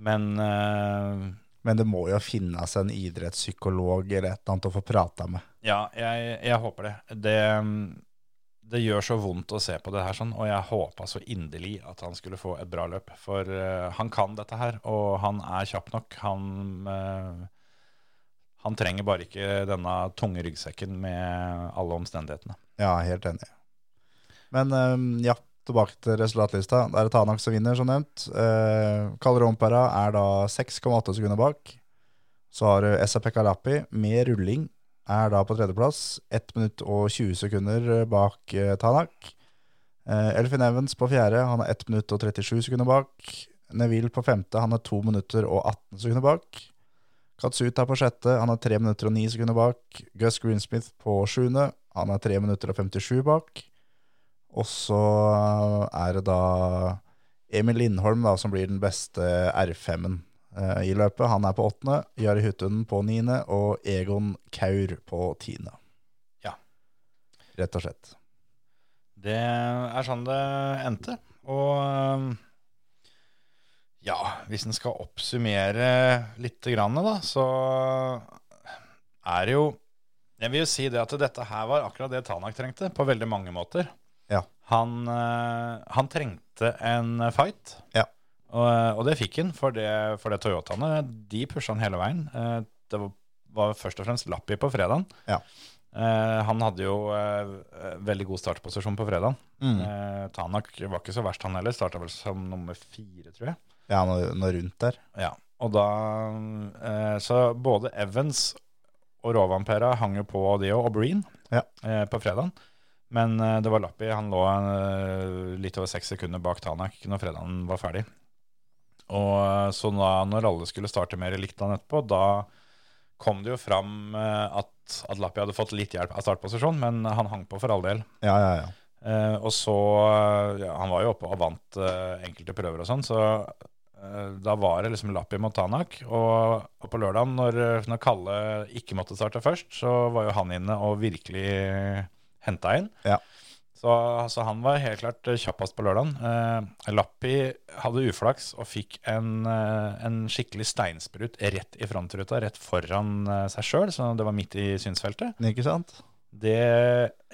Speaker 3: Men eh,
Speaker 4: Men det må jo finnes en idrettspsykolog eller et eller annet å få prata med.
Speaker 3: Ja, jeg, jeg håper det. det. mm, Det gjør så vondt å se på det her, sånn, og jeg håpa så inderlig at han skulle få et bra løp. For eh, han kan dette her, og han er kjapp nok. Han, eh, han trenger bare ikke denne tunge ryggsekken med alle omstendighetene.
Speaker 4: Ja, helt enig. Men eh, ja, tilbake til resultatlista. Det er Tanak som vinner, som nevnt. Uh, Rompera er da 6,8 sekunder bak. Så har du Esa Pekalapi med rulling, er da på tredjeplass. 1 minutt og 20 sekunder bak eh, Tanak. Eh, Elfin Evans på fjerde, han er 1 minutt og 37 sekunder bak. Neville på femte, han er 2 minutter og 18 sekunder bak. Katsuta på sjette, han er 3 minutter og 9 sekunder bak. Gus Greensmith på sjuende, han er 3 minutter og 57 bak. Og så er det da Emil Lindholm da, som blir den beste R5-en eh, i løpet. Han er på åttende, Jari Huttunen på niende og Egon Kaur på tiende.
Speaker 3: Ja.
Speaker 4: Rett og slett.
Speaker 3: Det er sånn det endte. Og eh, ja, hvis en skal oppsummere litt, grann, da, så er det jo Jeg vil jo si det at dette her var akkurat det Tanak trengte, på veldig mange måter.
Speaker 4: Ja.
Speaker 3: Han, eh, han trengte en fight,
Speaker 4: Ja.
Speaker 3: og, eh, og det fikk han, for det, for det Toyotaene de pusha han hele veien. Eh, Det var, var først og fremst Lappi på fredagen.
Speaker 4: Ja.
Speaker 3: Eh, han hadde jo eh, veldig god startposisjon på fredagen.
Speaker 4: Mm.
Speaker 3: Eh, Tanak var ikke så verst, han heller. Starta vel som nummer fire, tror jeg.
Speaker 4: Ja, noe, noe rundt der.
Speaker 3: Ja, og da eh, Så både Evans og Råvampera hang jo på de òg, og Breen,
Speaker 4: Ja.
Speaker 3: eh, på fredagen. Men eh, det var Lappi. Han lå eh, litt over seks sekunder bak Tanak når fredagen var ferdig. Og eh, Så da når alle skulle starte mer likt dagen etterpå, da kom det jo fram eh, at, at Lappi hadde fått litt hjelp av startposisjon, men han hang på for all del.
Speaker 4: Ja, ja, ja.
Speaker 3: Eh, og så eh, ja, Han var jo oppe og vant eh, enkelte prøver og sånn, så eh, da var det liksom Lappi mot Tanak. Og, og på lørdag, når, når Kalle ikke måtte starte først, så var jo han inne og virkelig henta inn.
Speaker 4: Ja.
Speaker 3: Så, så han var helt klart eh, kjappest på lørdagen. Eh, Lappi hadde uflaks og fikk en, eh, en skikkelig steinsprut rett i frontruta, rett foran eh, seg sjøl, så det var midt i synsfeltet.
Speaker 4: Ikke sant?
Speaker 3: Det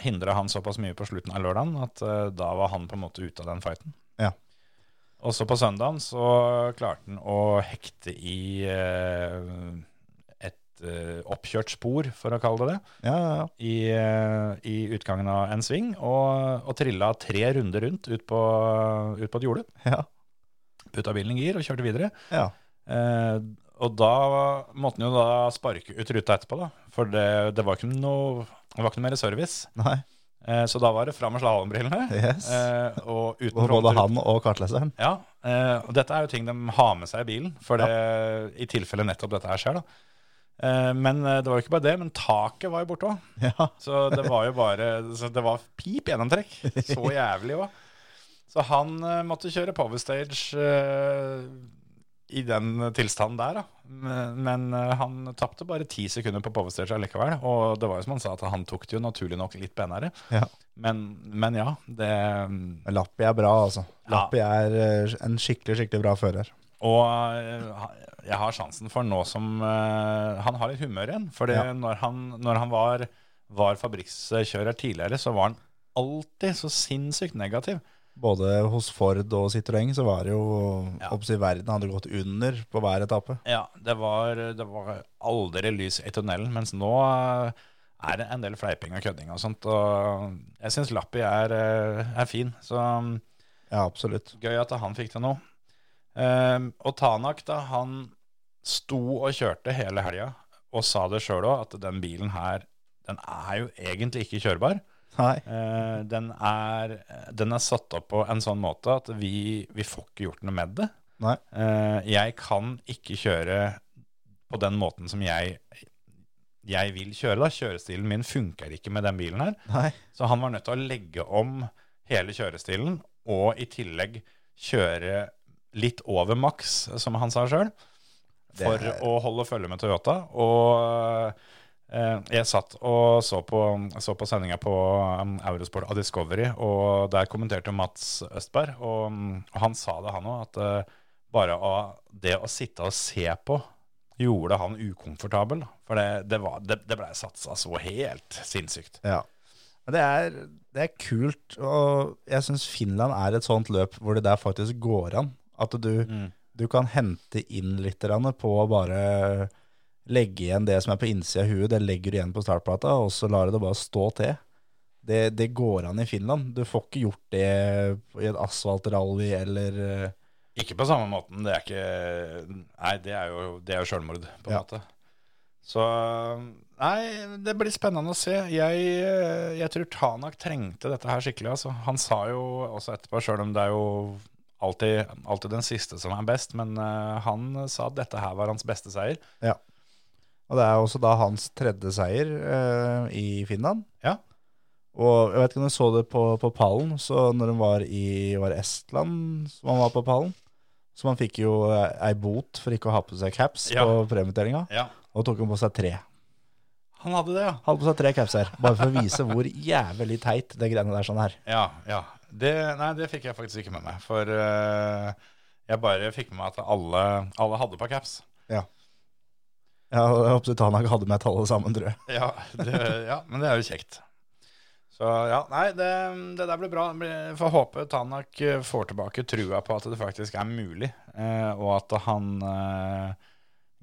Speaker 3: hindra han såpass mye på slutten av lørdagen at eh, da var han på en måte ute av den fighten.
Speaker 4: Ja.
Speaker 3: Og så på søndagen så klarte han å hekte i eh, et eh, oppkjørt spor, for å kalle det det,
Speaker 4: Ja, ja, ja.
Speaker 3: i, eh, i utgangen av en sving, og, og trilla tre runder rundt ut på, ut på et jorde.
Speaker 4: Ja,
Speaker 3: Putta bilen i gir og kjørte videre.
Speaker 4: ja.
Speaker 3: Eh, og da måtte han jo da sparke ut ruta etterpå, da. For det, det var ikke noe, det var ikke noe mer service.
Speaker 4: Nei.
Speaker 3: Eh, Så da var det fram med slalåmbrillene.
Speaker 4: Yes.
Speaker 3: eh, Og uten
Speaker 4: Og både
Speaker 3: frontrute.
Speaker 4: han og kartleseren.
Speaker 3: Ja, eh, og dette er jo ting de har med seg i bilen, for det, i tilfelle nettopp dette her skjer. da. Eh, Men eh, det var jo ikke bare det, men taket var jo borte òg.
Speaker 4: Ja.
Speaker 3: Så det var jo bare så Det var pip gjennomtrekk. Så jævlig òg. Så han eh, måtte kjøre powerstage eh, i den tilstanden der, da. Men, men eh, han tapte bare ti sekunder på powerstage allikevel. Og det var jo som han sa, at han tok det jo naturlig nok litt penere.
Speaker 4: Ja.
Speaker 3: Men, men ja, det
Speaker 4: Lappi er bra, altså.
Speaker 3: Ja.
Speaker 4: Lappi er eh, en skikkelig, skikkelig bra fører.
Speaker 3: Og eh, jeg har sjansen for nå som eh, Han har litt humør igjen. For
Speaker 4: Ja.
Speaker 3: når, han, når han var, var fabrikkjører tidligere, så var han alltid så sinnssykt negativ.
Speaker 4: Både hos Ford og Citroën så var det jo
Speaker 3: Ja.
Speaker 4: oppsi verden hadde gått under på hver etappe.
Speaker 3: Ja, det var, det var aldri lys i tunnelen, mens nå eh, er det en del fleiping og kødding og sånt. Og jeg syns Lappi er, eh, er fin, så mm,
Speaker 4: Ja, absolutt.
Speaker 3: gøy at han fikk til nå. Ehm, og Tanak, da, han sto og kjørte hele helga og sa det sjøl òg, at den bilen her, den er jo egentlig ikke kjørbar.
Speaker 4: Nei.
Speaker 3: Eh, den, er, den er satt opp på en sånn måte at vi, vi får ikke gjort noe med det.
Speaker 4: Nei.
Speaker 3: Eh, jeg kan ikke kjøre på den måten som jeg, jeg vil kjøre. da. Kjørestilen min funker ikke med den bilen her.
Speaker 4: Nei.
Speaker 3: Så han var nødt til å legge om hele kjørestilen, og i tillegg kjøre litt over maks, som han sa sjøl,
Speaker 4: Det
Speaker 3: for
Speaker 4: er-
Speaker 3: å holde følge med Toyota. Og eh, jeg satt og så på, så på sendinga på um, Eurosport av Discovery, og der kommenterte Mats Østberg, og, mm, og han sa det, han òg, at eh, bare av det å sitte og se på gjorde han ukomfortabel. For det, det, var- det, det blei satsa så helt sinnssykt.
Speaker 4: Ja. Men Det er, det er kult, og jeg syns Finland er et sånt løp hvor det der faktisk går an. At du, du kan hente inn litt grann på å bare legge igjen det som er på innsida av huet, det legger du igjen på startplata, og så lar du det bare stå til. Det, det går an i Finland. Du får ikke gjort det i et asfaltrally eller eh,
Speaker 3: Ikke på samme måten. Det er ikke Nei, det er jo, det er jo sjølmord, på en
Speaker 4: Ja.
Speaker 3: måte. Så Nei, det blir spennende å se. Jeg, jeg tror Tanak trengte dette her skikkelig. Altså. Han sa jo også etterpå, sjøl om det er jo alltid, alltid den siste som er best, men eh, han sa at dette her var hans beste seier.
Speaker 4: Ja. Og det er også da hans tredje seier eh, i Finland.
Speaker 3: Ja.
Speaker 4: Og jeg vet ikke om du så det på, på pallen, så når han var i var det Estland, som han var på pallen, så han fikk jo eh, ei bot for ikke å ha på seg caps
Speaker 3: Ja.
Speaker 4: på premieutdelinga,
Speaker 3: ja.
Speaker 4: og tok han på seg tre.
Speaker 3: Han hadde det, ja.
Speaker 4: Han hadde på seg tre caps her, bare for å vise hvor jævlig teit det greiene der sånn her.
Speaker 3: Ja, ja. Det, nei, det fikk jeg faktisk ikke med meg. For eh, jeg bare fikk med meg at alle, alle hadde på caps.
Speaker 4: Ja, og jeg håper Tanak hadde med tallet sammen, tror jeg.
Speaker 3: Ja, det, ja, men det er jo kjekt. Så ja, nei, det, det der blir bra. Det blir- Får håpe Tanak eh, får tilbake trua på at det faktisk er mulig, eh, og at han eh,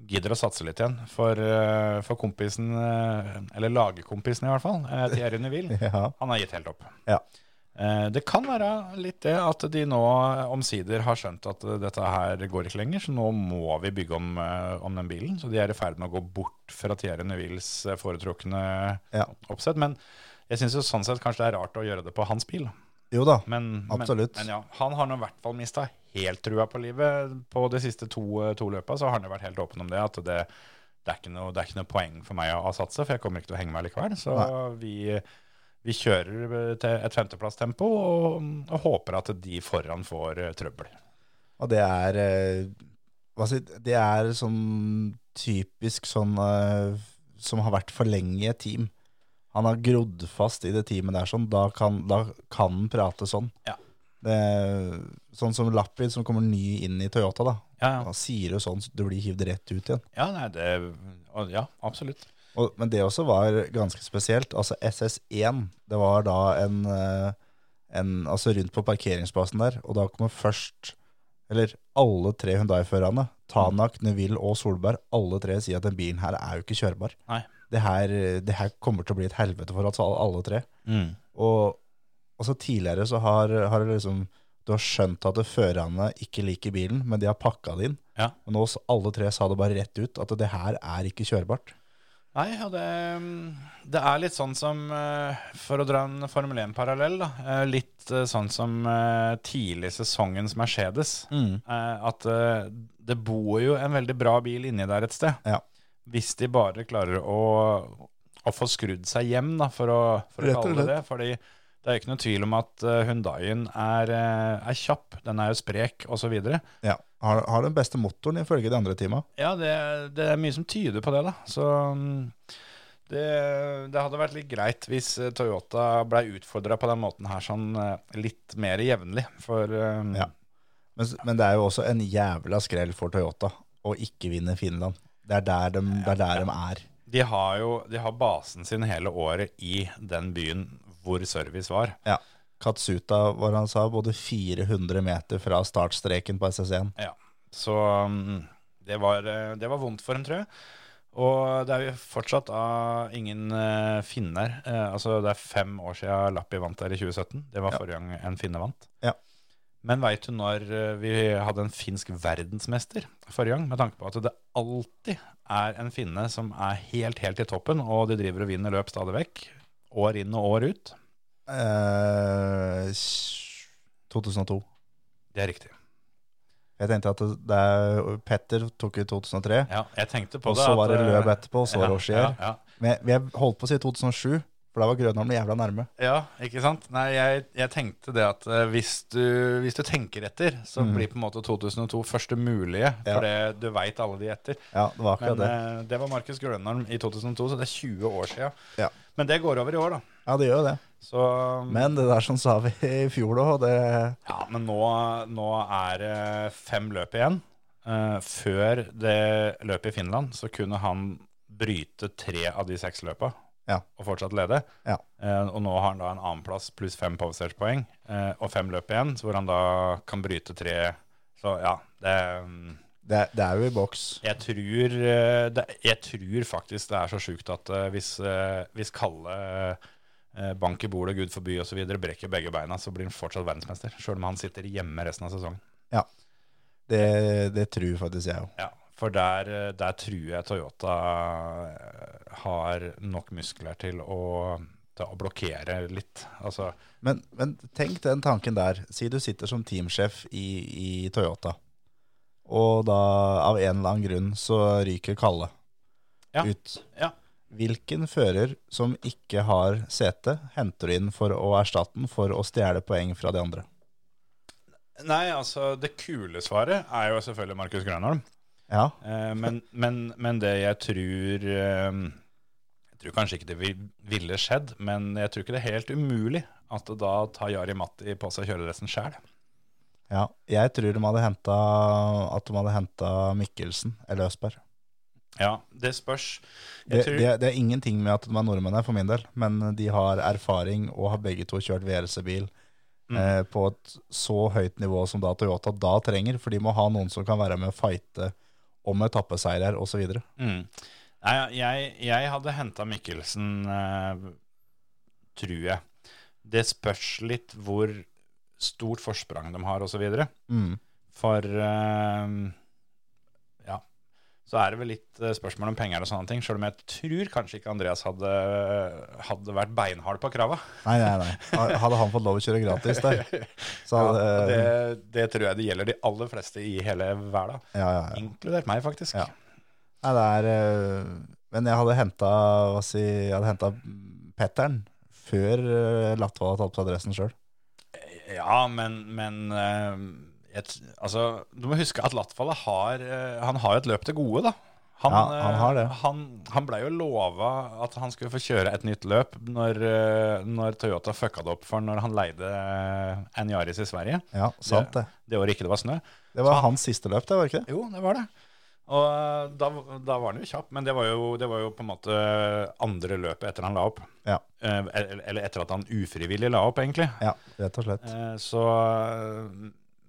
Speaker 3: gidder å satse litt igjen. For, eh, for kompisen, eh, eller lagkompisen i hvert fall, eh, Thierry Neville,
Speaker 4: Ja.
Speaker 3: han har gitt helt opp.
Speaker 4: Ja.
Speaker 3: Eh, Det kan være litt det at de nå omsider har skjønt at eh, dette her går ikke lenger, så nå må vi bygge om, eh, om den bilen. Så de er i ferd med å gå bort fra Thierry Nevilles eh, foretrukne
Speaker 4: Ja.
Speaker 3: oppsett. Men jeg syns jo sånn sett kanskje det er rart å gjøre det på hans bil.
Speaker 4: Jo da,
Speaker 3: Men,
Speaker 4: Absolutt.
Speaker 3: Men, men ja, han har nå i hvert fall mista helt trua på livet. På de siste to, eh, to løpa så har han jo vært helt åpen om det, at det, det, er ikke noe, det er ikke noe poeng for meg å, å satse, for jeg kommer ikke til å henge meg likevel. Så vi, vi kjører eh, til et femteplasstempo og, og håper at de foran får eh, trøbbel.
Speaker 4: og det er eh, hva si, Det er sånn typisk sånn eh, som har vært for lenge i et team. Han har grodd fast i det teamet der sånn. Da kan, da kan han prate sånn.
Speaker 3: Ja.
Speaker 4: Det, er sånn som Lapid som kommer ny inn i Toyota, da.
Speaker 3: Ja, ja.
Speaker 4: Han sier jo sånn, så du blir hivd rett ut igjen.
Speaker 3: ja, nei, det, og, ja absolutt.
Speaker 4: Og, men det også var ganske spesielt. Altså SS1, det var da en, eh, en Altså rundt på parkeringsplassen der, og da kommer først Eller alle tre Hundai-førerne, Tanak, Neville og Solberg, alle tre sier at den bilen her er jo ikke kjørbar.
Speaker 3: Nei.
Speaker 4: Det her, det her kommer til å bli et helvete for oss alle, alle tre. Og altså tidligere så har, har det liksom Du har skjønt at førerne ikke liker bilen, men de har pakka det inn.
Speaker 3: Ja.
Speaker 4: Men nå s- alle tre sa det bare rett ut, at det her er ikke kjørbart.
Speaker 3: Nei, og det, det er litt sånn som, eh, for å dra en Formel 1-parallell, da, eh, litt eh, sånn som eh, tidlig sesongens Mercedes.
Speaker 4: Mm.
Speaker 3: Eh, At eh, det bor jo en veldig bra bil inni der et sted.
Speaker 4: Ja.
Speaker 3: Hvis de bare klarer å, å få skrudd seg hjem, da, for å, for å
Speaker 4: Rett og
Speaker 3: kalle det det. Fordi det er jo ikke noe tvil om at eh, Hyundaien er, eh, er kjapp, den er jo sprek osv.
Speaker 4: Ja, har, har den beste motoren ifølge de andre teama.
Speaker 3: Ja, det, det er mye som tyder på det, da. Så mm, det, det hadde vært litt greit hvis eh, Toyota ble utfordra på den måten her sånn eh, litt mer jevnlig. For eh,
Speaker 4: Ja. Men, s- men det er jo også en jævla skrell for Toyota å ikke vinne Finland. Det er der de, det er, der de er.
Speaker 3: de har jo de har basen sin hele året i den byen hvor service var.
Speaker 4: Ja. Katsuta var han sa, både 400 meter fra startstreken på SS1.
Speaker 3: Ja, så mm, det var, eh, det var vondt for dem, tror jeg. Og det er jo fortsatt ah, ingen eh, finner. Eh, altså det er fem år siden Lappi vant der i 2017. Det var
Speaker 4: Ja.
Speaker 3: forrige gang en finne vant.
Speaker 4: Ja.
Speaker 3: Men veit du når eh, vi hadde en finsk verdensmester forrige gang? Med tanke på at det alltid er en finne som er helt, helt i toppen, og de driver og vinner løp stadig vekk. År inn og år ut.
Speaker 4: Eh, s- 2002.
Speaker 3: Det er riktig.
Speaker 4: Jeg tenkte at det, det er, Petter tok i 2003,
Speaker 3: Ja, jeg tenkte på
Speaker 4: og
Speaker 3: det.
Speaker 4: så
Speaker 3: at,
Speaker 4: var det
Speaker 3: eh,
Speaker 4: løp etterpå, og så var det Rochier.
Speaker 3: ja, ja, ja.
Speaker 4: Men jeg jeg holdt på å si 2007, for da var Grønholm jævla nærme.
Speaker 3: Ja, ikke sant? Nei, jeg, jeg tenkte det at eh, hvis du, hvis du tenker etter, så
Speaker 4: Mm.
Speaker 3: blir på en måte 2002 første mulige, for det, du veit alle de etter.
Speaker 4: Ja, det
Speaker 3: Men
Speaker 4: var akkurat det.
Speaker 3: eh, det var Markus Grønholm i 2002, så det er 20 år sia.
Speaker 4: Ja.
Speaker 3: Men det går over i år, da.
Speaker 4: Ja, det gjør jo det.
Speaker 3: Så
Speaker 4: Men det der som sa vi i fjor òg, det
Speaker 3: Ja, men nå, nå er det fem løp igjen. Eh, før det løpet i Finland så kunne han bryte tre av de seks løpa
Speaker 4: Ja.
Speaker 3: og fortsatt lede.
Speaker 4: Ja.
Speaker 3: Eh, og nå har han da en annenplass pluss fem powersearch-poeng eh, og fem løp igjen, så hvor han da kan bryte tre. Så ja, det, mm,
Speaker 4: Det, det er jo i boks.
Speaker 3: jeg, tror, eh, det, jeg tror faktisk det er så sjukt at eh, hvis, eh, hvis Kalle eh, bank i bordet, gud forby osv. brekker begge beina, så blir han fortsatt verdensmester, sjøl om han sitter hjemme resten av sesongen.
Speaker 4: Ja. Det, det tror faktisk jeg òg.
Speaker 3: Ja, for der, eh, der tror jeg Toyota eh, har nok muskler til å, til å blokkere litt. Altså,
Speaker 4: Men, men tenk den tanken der. Si du sitter som teamsjef i, i Toyota, og da av en eller annen grunn så ryker Kalle
Speaker 3: Ja.
Speaker 4: ut.
Speaker 3: ja.
Speaker 4: Hvilken fører som ikke har sete, henter du inn for å erstatte den for å stjele poeng fra de andre?
Speaker 3: Nei, altså det kule svaret er jo selvfølgelig Markus Grønholm.
Speaker 4: Ja,
Speaker 3: Eh, men, men, men det jeg tror eh, Jeg tror kanskje ikke det vi- ville skjedd, men jeg tror ikke det er helt umulig at da tar Jari Matti på seg kjøredressen sjæl.
Speaker 4: ja. Jeg tror de hadde henta, at de hadde henta Mikkelsen eller Østberg.
Speaker 3: Ja, det spørs.
Speaker 4: Det,
Speaker 3: Jeg tror-
Speaker 4: det, det er ingenting med at de er nordmenn her, for min del, men de har erfaring og har begge to kjørt VRC-bil
Speaker 3: Mm.
Speaker 4: eh, på et så høyt nivå som da Toyota da trenger, for de må ha noen som kan være med å fighte om etappeseirer osv.
Speaker 3: Mm. Nei, jeg, jeg hadde henta Mikkelsen, eh, tror jeg. det spørs litt hvor stort forsprang de har, osv.
Speaker 4: Mm.
Speaker 3: For eh, ja, så er det vel litt eh, spørsmål om penger og sånne ting. Sjøl om jeg tror kanskje ikke Andreas hadde, hadde vært beinhard på krava.
Speaker 4: Nei, nei, nei. Ha- Hadde han fått lov å kjøre gratis der, så
Speaker 3: Ja,
Speaker 4: hadde
Speaker 3: og det, det tror jeg det gjelder de aller fleste i hele verden.
Speaker 4: ja, ja, ja.
Speaker 3: Inkludert meg, faktisk.
Speaker 4: Ja. Nei, det er eh, Men jeg hadde henta Hva si Jeg hadde henta Petteren før eh, Latvold hadde tatt på adressen sjøl.
Speaker 3: Ja, men, men eh, et, altså, du må huske at Latvala har eh, Han har jo et løp til gode, da.
Speaker 4: Ja, han har det.
Speaker 3: eh, Han, han blei jo lova at han skulle få kjøre et nytt løp når, eh, når Toyota fucka det opp for når han leide eh, Anjaris i Sverige.
Speaker 4: Ja, sant det.
Speaker 3: Det året ikke det var snø.
Speaker 4: Det var hans siste løp, det, var ikke det?
Speaker 3: Jo, det var det. Og eh, da, da var han jo kjapp, men det var jo, det var jo på en måte andre løpet etter han la opp.
Speaker 4: Ja,
Speaker 3: Eh, Eller eller etter at han ufrivillig la opp, egentlig.
Speaker 4: ja rett og slett.
Speaker 3: Eh, Så eh,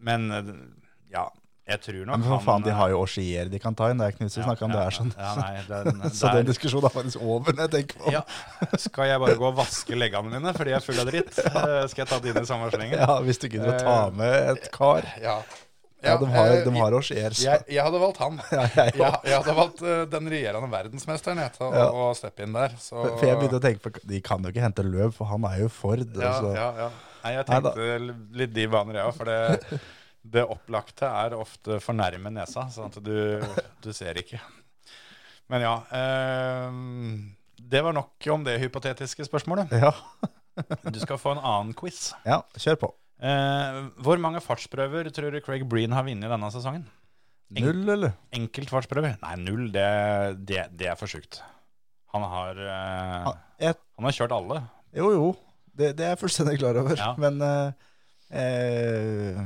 Speaker 3: Men eh, ja, jeg tror nok
Speaker 4: Men for faen, de
Speaker 3: eh,
Speaker 4: har jo Auchier de kan ta inn. Det er ikke noe vits i å
Speaker 3: ja,
Speaker 4: snakke om
Speaker 3: ja,
Speaker 4: det er sånn.
Speaker 3: Ja, nei, den,
Speaker 4: Så
Speaker 3: der-
Speaker 4: den diskusjonen er faktisk over når jeg tenker på
Speaker 3: ja,
Speaker 4: det.
Speaker 3: Skal jeg bare gå og vaske leggene mine fordi jeg er full av dritt? Eh, Skal jeg ta dine i samme slengen?
Speaker 4: Ja, hvis du gidder å ta med et kar.
Speaker 3: Eh, Ja.
Speaker 4: Ja, de har,
Speaker 3: eh,
Speaker 4: de har Auchier, så
Speaker 3: Jeg, jeg hadde valgt han.
Speaker 4: Ja, jeg
Speaker 3: jeg, jeg hadde valgt eh, den regjerende verdensmesteren jeg, til å,
Speaker 4: Ja.
Speaker 3: å steppe inn der. Så,
Speaker 4: For jeg begynte å tenke på De kan jo ikke hente løp, for han er jo Ford.
Speaker 3: ja,
Speaker 4: så.
Speaker 3: ja, ja. Nei, jeg
Speaker 4: altså. Nei da.
Speaker 3: tenkte l- litt de baner, jeg òg. For det, det opplagte er ofte for nærme nesa, sånn at du, du ser ikke. Men ja. ehm, det var nok om det hypotetiske spørsmålet.
Speaker 4: Ja.
Speaker 3: Du skal få en annen quiz.
Speaker 4: ja, kjør på.
Speaker 3: Eh, hvor mange fartsprøver tror du Craig Breen har vunnet denne sesongen?
Speaker 4: Null, eller?
Speaker 3: Enkelt fartsprøver? Nei, null. Det, det, det er for sjukt. Han har eh,
Speaker 4: Ah, Jeg
Speaker 3: Han har kjørt alle.
Speaker 4: Jo, jo. Det, det er jeg fullstendig klar over.
Speaker 3: Ja.
Speaker 4: Men eh, eh,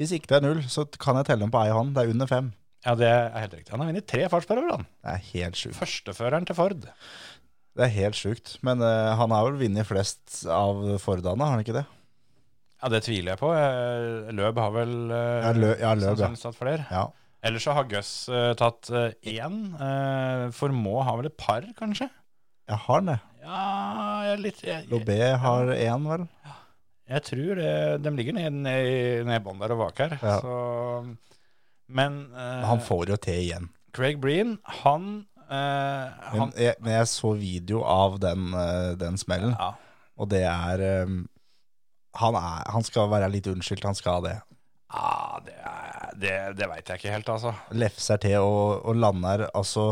Speaker 4: hvis ikke det er null, så kan jeg telle dem på ei hånd. Det er under fem.
Speaker 3: Ja, det er helt riktig. Han har vunnet tre fartsprøver, han.
Speaker 4: Det er helt sjukt.
Speaker 3: Førsteføreren til Ford.
Speaker 4: Det er helt sjukt. Men eh, han har vel vunnet flest av Fordane, har han ikke det?
Speaker 3: Ja, det tviler jeg på. Eh, Løb har vel eh,
Speaker 4: Ja, Lø- ja, Løb, ja.
Speaker 3: sannsynligvis tatt flere.
Speaker 4: Ja.
Speaker 3: Ellers så har Gus eh, tatt eh, én. Eh, Formå har vel et par, kanskje?
Speaker 4: Jeg har han det.
Speaker 3: Ja, jeg er litt jeg, jeg,
Speaker 4: Lobé har én, vel?
Speaker 3: jeg tror det, de ligger ned, ned, i- ned i bånn der og vaker.
Speaker 4: Ja.
Speaker 3: Så, men eh,
Speaker 4: Han får jo til igjen.
Speaker 3: Craig Breen, han, eh,
Speaker 4: Men
Speaker 3: han
Speaker 4: jeg, men jeg så video av den, eh, den smellen,
Speaker 3: ja.
Speaker 4: og det er, eh, han er Han skal være litt unnskyldt, han skal det.
Speaker 3: Ah, det, er- det, det veit jeg ikke helt, altså.
Speaker 4: lefser til og, og lander altså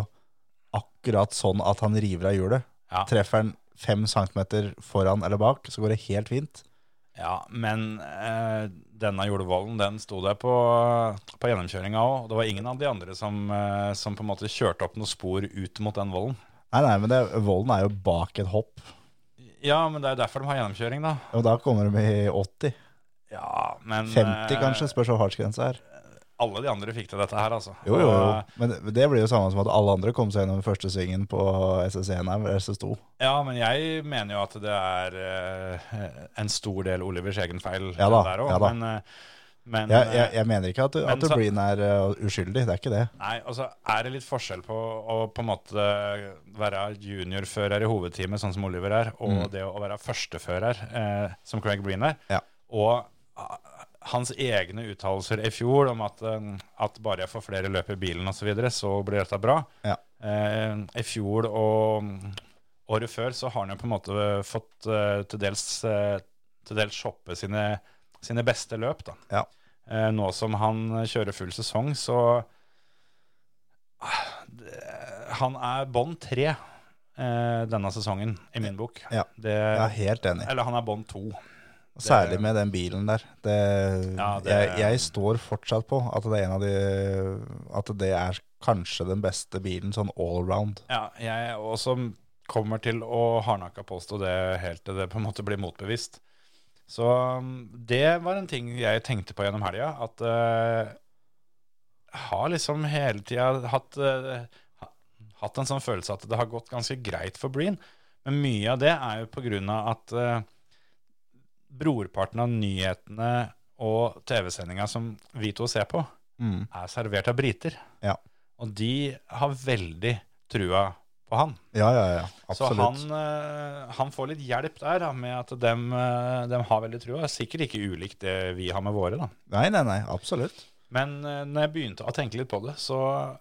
Speaker 4: akkurat sånn at han river av hjulet.
Speaker 3: Ja.
Speaker 4: Treffer han fem centimeter foran eller bak, så går det helt fint.
Speaker 3: Ja, men eh, denne jordvollen, den sto der på, på gjennomkjøringa òg. Det var ingen av de andre som, eh, som på en måte kjørte opp noen spor ut mot den vollen.
Speaker 4: Nei, nei, men det, volden er jo bak et hopp,
Speaker 3: Ja, men det er jo derfor de har gjennomkjøring, da.
Speaker 4: og da kommer de i 80.
Speaker 3: Ja, men
Speaker 4: 50
Speaker 3: eh,
Speaker 4: kanskje, spørs hvor fartsgrensa er.
Speaker 3: Alle de andre fikk til dette her, altså.
Speaker 4: Jo, jo, jo.
Speaker 3: Og,
Speaker 4: Men det- det blir jo samme som at alle andre kom seg gjennom første svingen på SS1 her, eller SS2.
Speaker 3: Ja, men jeg mener jo at det er eh, en stor del Olivers egen feil
Speaker 4: Ja da,
Speaker 3: der òg.
Speaker 4: ja da.
Speaker 3: Men, eh, men
Speaker 4: Jeg, jeg, jeg mener ikke at, du-
Speaker 3: Men
Speaker 4: at du
Speaker 3: så-
Speaker 4: blir nær uh, uskyldig, det er ikke det.
Speaker 3: Nei, altså er det litt forskjell på å på en måte være juniorfører i hovedteamet, sånn som Oliver er, og det å være førstefører, eh, som Craig Breen er.
Speaker 4: Ja.
Speaker 3: Og ah, hans egne uttalelser i fjor om at, eh, at bare jeg får flere løp i bilen osv., så, videre, så blir dette bra.
Speaker 4: Ja.
Speaker 3: Eh, I fjor og mm, året før så har han jo på en måte fått eh, til dels eh, til dels shoppe sine, sine beste løp, da.
Speaker 4: Ja.
Speaker 3: Eh, nå som han kjører full sesong, så Ah, det, Han er bånd tre eh, denne sesongen, i min bok.
Speaker 4: Ja.
Speaker 3: Det,
Speaker 4: Jeg er helt enig.
Speaker 3: Eller han er bånd to.
Speaker 4: Særlig med den bilen der. Det,
Speaker 3: Ja, det-
Speaker 4: jeg, jeg står fortsatt på at det er en av de At det er kanskje den beste bilen sånn all around.
Speaker 3: Ja, jeg også kommer til å hardnakka påstå det helt til det på en måte blir motbevist. Så um, det var en ting jeg tenkte på gjennom helga, at eh, jeg har liksom hele tida hatt, eh, ha- hatt en sånn følelse at det har gått ganske greit for Breen, men mye av det er jo på grunn av at eh, brorparten av nyhetene og TV-sendinga som vi to ser på, er servert av briter.
Speaker 4: Ja.
Speaker 3: Og de har veldig trua på han.
Speaker 4: Ja, ja, ja.
Speaker 3: Så han,
Speaker 4: Absolutt.
Speaker 3: eh, han får litt hjelp der da, med at dem, eh, dem har veldig trua. Sikkert ikke ulikt det vi har med våre, da.
Speaker 4: Nei, nei, nei. Absolutt.
Speaker 3: Men eh, når jeg begynte å tenke litt på det, så,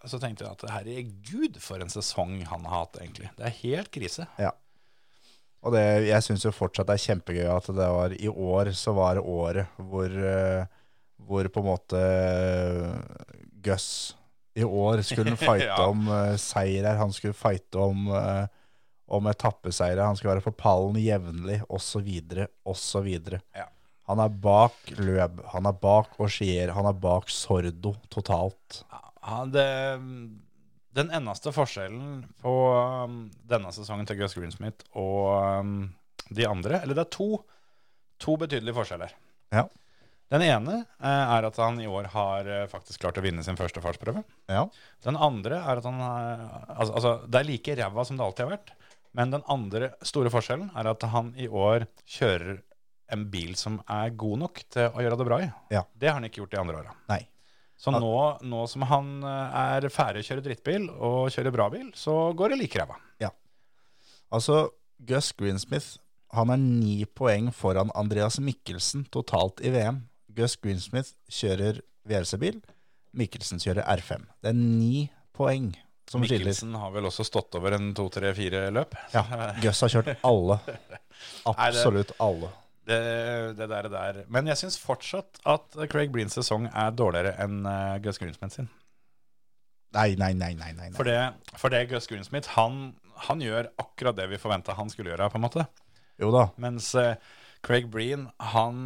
Speaker 3: så tenkte jeg at herregud, for en sesong han har hatt, egentlig. Det er helt krise.
Speaker 4: Ja. Og det, jeg syns jo fortsatt det er kjempegøy at det var i år så var det året hvor, eh, hvor på en måte eh, Gus I år skulle han fighte
Speaker 3: Ja.
Speaker 4: om eh, seirer, han skulle fighte om, eh, om etappeseirer, han skulle være på pallen jevnlig, osv., osv.
Speaker 3: Ja.
Speaker 4: Han er bak Løb, han er bak Auchier, han er bak Sordo totalt.
Speaker 3: Ja, det, den eneste forskjellen på um, denne sesongen til Gus Greensmith og um, de andre, eller det er to, to betydelige forskjeller.
Speaker 4: Ja.
Speaker 3: Den ene eh, er at han i år har eh, faktisk klart å vinne sin første fartsprøve.
Speaker 4: Ja.
Speaker 3: Den andre er at han er, altså, altså, Det er like ræva som det alltid har vært, men den andre store forskjellen er at han i år kjører en bil som er god nok til å gjøre det bra i.
Speaker 4: Ja.
Speaker 3: Det har han ikke gjort de andre åra.
Speaker 4: Nei.
Speaker 3: Så
Speaker 4: Ja.
Speaker 3: nå, nå som han eh, er ferdig å kjøre drittbil og kjøre bra bil, så går det like ræva.
Speaker 4: Altså, Gus Greensmith han er ni poeng foran Andreas Mikkelsen totalt i VM. Gus Greensmith kjører VRC-bil, Mikkelsen kjører R5. Det er ni poeng som skiller.
Speaker 3: Mikkelsen har vel også stått over en to, tre, fire løp. Eh,
Speaker 4: Ja, Gus har kjørt alle.
Speaker 3: Nei, det-
Speaker 4: Absolutt alle.
Speaker 3: Det, det der, det der. Men jeg syns fortsatt at Craig Breens sesong er dårligere enn uh, Gus Greensmith sin.
Speaker 4: Nei, nei, nei, nei. nei,
Speaker 3: For
Speaker 4: nei.
Speaker 3: det, for det Gus Greensmith, han, han gjør akkurat det vi forventa han skulle gjøre, på en måte.
Speaker 4: Jo da.
Speaker 3: Mens eh, Craig Breen, han,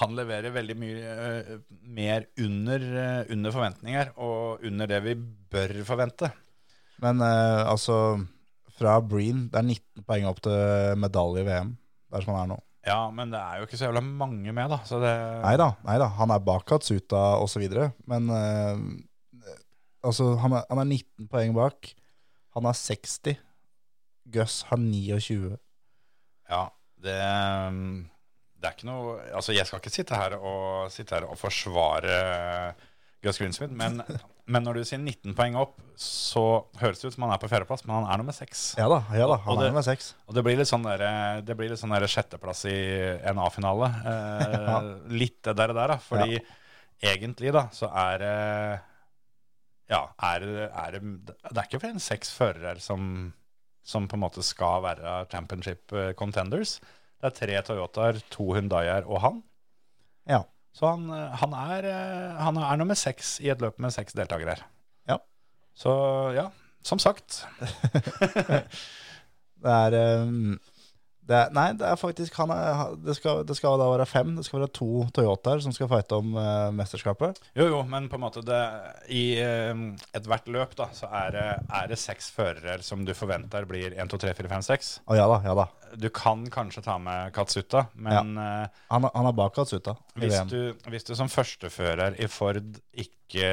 Speaker 3: han leverer veldig mye eh, mer under, eh, under forventninger, og under det vi bør forvente.
Speaker 4: Men eh, altså, fra Breen Det er 19 poeng opp til medalje i VM. Der som han er nå.
Speaker 3: Ja, men det er jo ikke så jævla mange med, da. Så det,
Speaker 4: Nei da, nei da. Han er bak Katsuta osv. Men eh, altså, han er, han er 19 poeng bak. Han er 60. Gus har 29.
Speaker 3: ja, det, det er ikke noe Altså, jeg skal ikke sitte her og, sitte her og forsvare eh, Gus Greensmith, men, men når du sier 19 poeng opp, så høres det ut som han er på fjerdeplass, men han er nummer seks.
Speaker 4: Ja da, ja da
Speaker 3: Og
Speaker 4: han
Speaker 3: det-
Speaker 4: er nummer 6.
Speaker 3: Og det blir litt sånn der, det blir litt sånn der sjetteplass i en A-finale. Eh, Litt det der, og der da. Fordi egentlig da, så er det Ja, er, det- er det Det er ikke flere enn seks førere som, som på en måte skal være championship eh, contenders. Det er tre Toyotaer, to Hundaier og han.
Speaker 4: Ja.
Speaker 3: Så han, eh, han, er, eh, han er nummer seks i et løp med seks deltakere her.
Speaker 4: Ja.
Speaker 3: Så ja, som sagt.
Speaker 4: Det er, eh, det er Nei, det er faktisk han er, det, skal, det skal da være fem. Det skal være to Toyotaer som skal fighte om eh, mesterskapet.
Speaker 3: Jo, jo, men på en måte det, i eh, ethvert løp da, så er det, er det seks førere som du forventer blir 1, 2, 3, 4, 5, 6.
Speaker 4: Å ja da, ja da.
Speaker 3: Du kan kanskje ta med Katsuta, men eh,
Speaker 4: Han, er- han er bak Katsuta i
Speaker 3: hvis,
Speaker 4: VM.
Speaker 3: du, hvis du som førstefører i Ford ikke,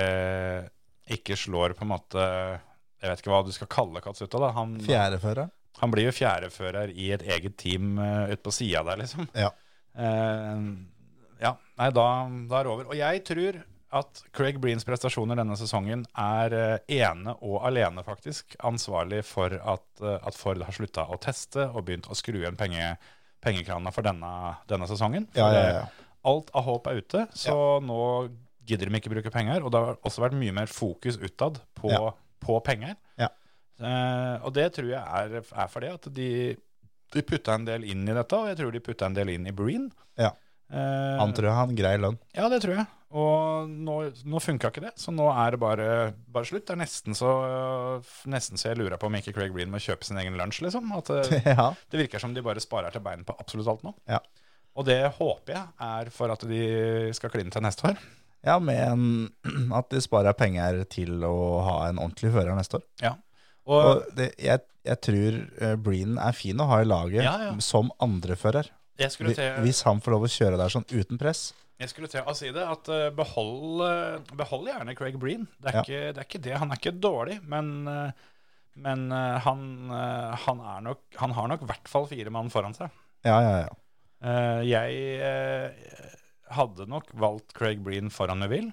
Speaker 3: ikke slår på en måte Jeg vet ikke hva du skal kalle Katsuta, da. Han,
Speaker 4: Fjerdefører.
Speaker 3: han blir jo fjerdefører i et eget team uh, ute på sida der, liksom.
Speaker 4: Ja.
Speaker 3: Eh, ja, nei, da, da er det over. Og jeg tror at Craig Breens prestasjoner denne sesongen er eh, ene og alene faktisk ansvarlig for at, eh, at Ford har slutta å teste og begynt å skru igjen penge, pengekrana for denne, denne sesongen. For
Speaker 4: Ja, ja, ja.
Speaker 3: eh, alt av håp er ute, så nå gidder de ikke bruke penger. Og det har også vært mye mer fokus utad på,
Speaker 4: Ja.
Speaker 3: på penger.
Speaker 4: Ja.
Speaker 3: Eh, og det tror jeg er, er fordi at de, de putta en del inn i dette, og jeg tror de putta en del inn i Breen.
Speaker 4: Ja.
Speaker 3: Eh,
Speaker 4: Han tror jeg har en grei lønn.
Speaker 3: ja, det tror jeg. Og nå, nå funka ikke det, så nå er det bare, bare slutt. Det er nesten så, nesten så jeg lurer på om ikke Craig Breen må kjøpe sin egen lunsj, liksom. At det,
Speaker 4: ja.
Speaker 3: det virker som de bare sparer til bein på absolutt alt nå.
Speaker 4: Ja.
Speaker 3: Og det håper jeg er for at de skal kline til neste år.
Speaker 4: Ja, med en, at de sparer penger til å ha en ordentlig fører neste år.
Speaker 3: Ja. Og,
Speaker 4: Og det, jeg, jeg tror eh, Breen er fin å ha i laget
Speaker 3: Ja, ja.
Speaker 4: som andrefører.
Speaker 3: jeg skulle til
Speaker 4: Hvis han får lov å kjøre der sånn uten press.
Speaker 3: Jeg skulle til å si det, at eh, behold, eh, behold gjerne Craig Breen. Det er,
Speaker 4: Ja.
Speaker 3: ikke, det er ikke det. Han er ikke dårlig, men, eh, men eh, han, eh, han, er nok, han har nok i hvert fall fire mann foran seg.
Speaker 4: Ja, ja, ja.
Speaker 3: Eh, Jeg eh, hadde nok valgt Craig Breen foran Neville.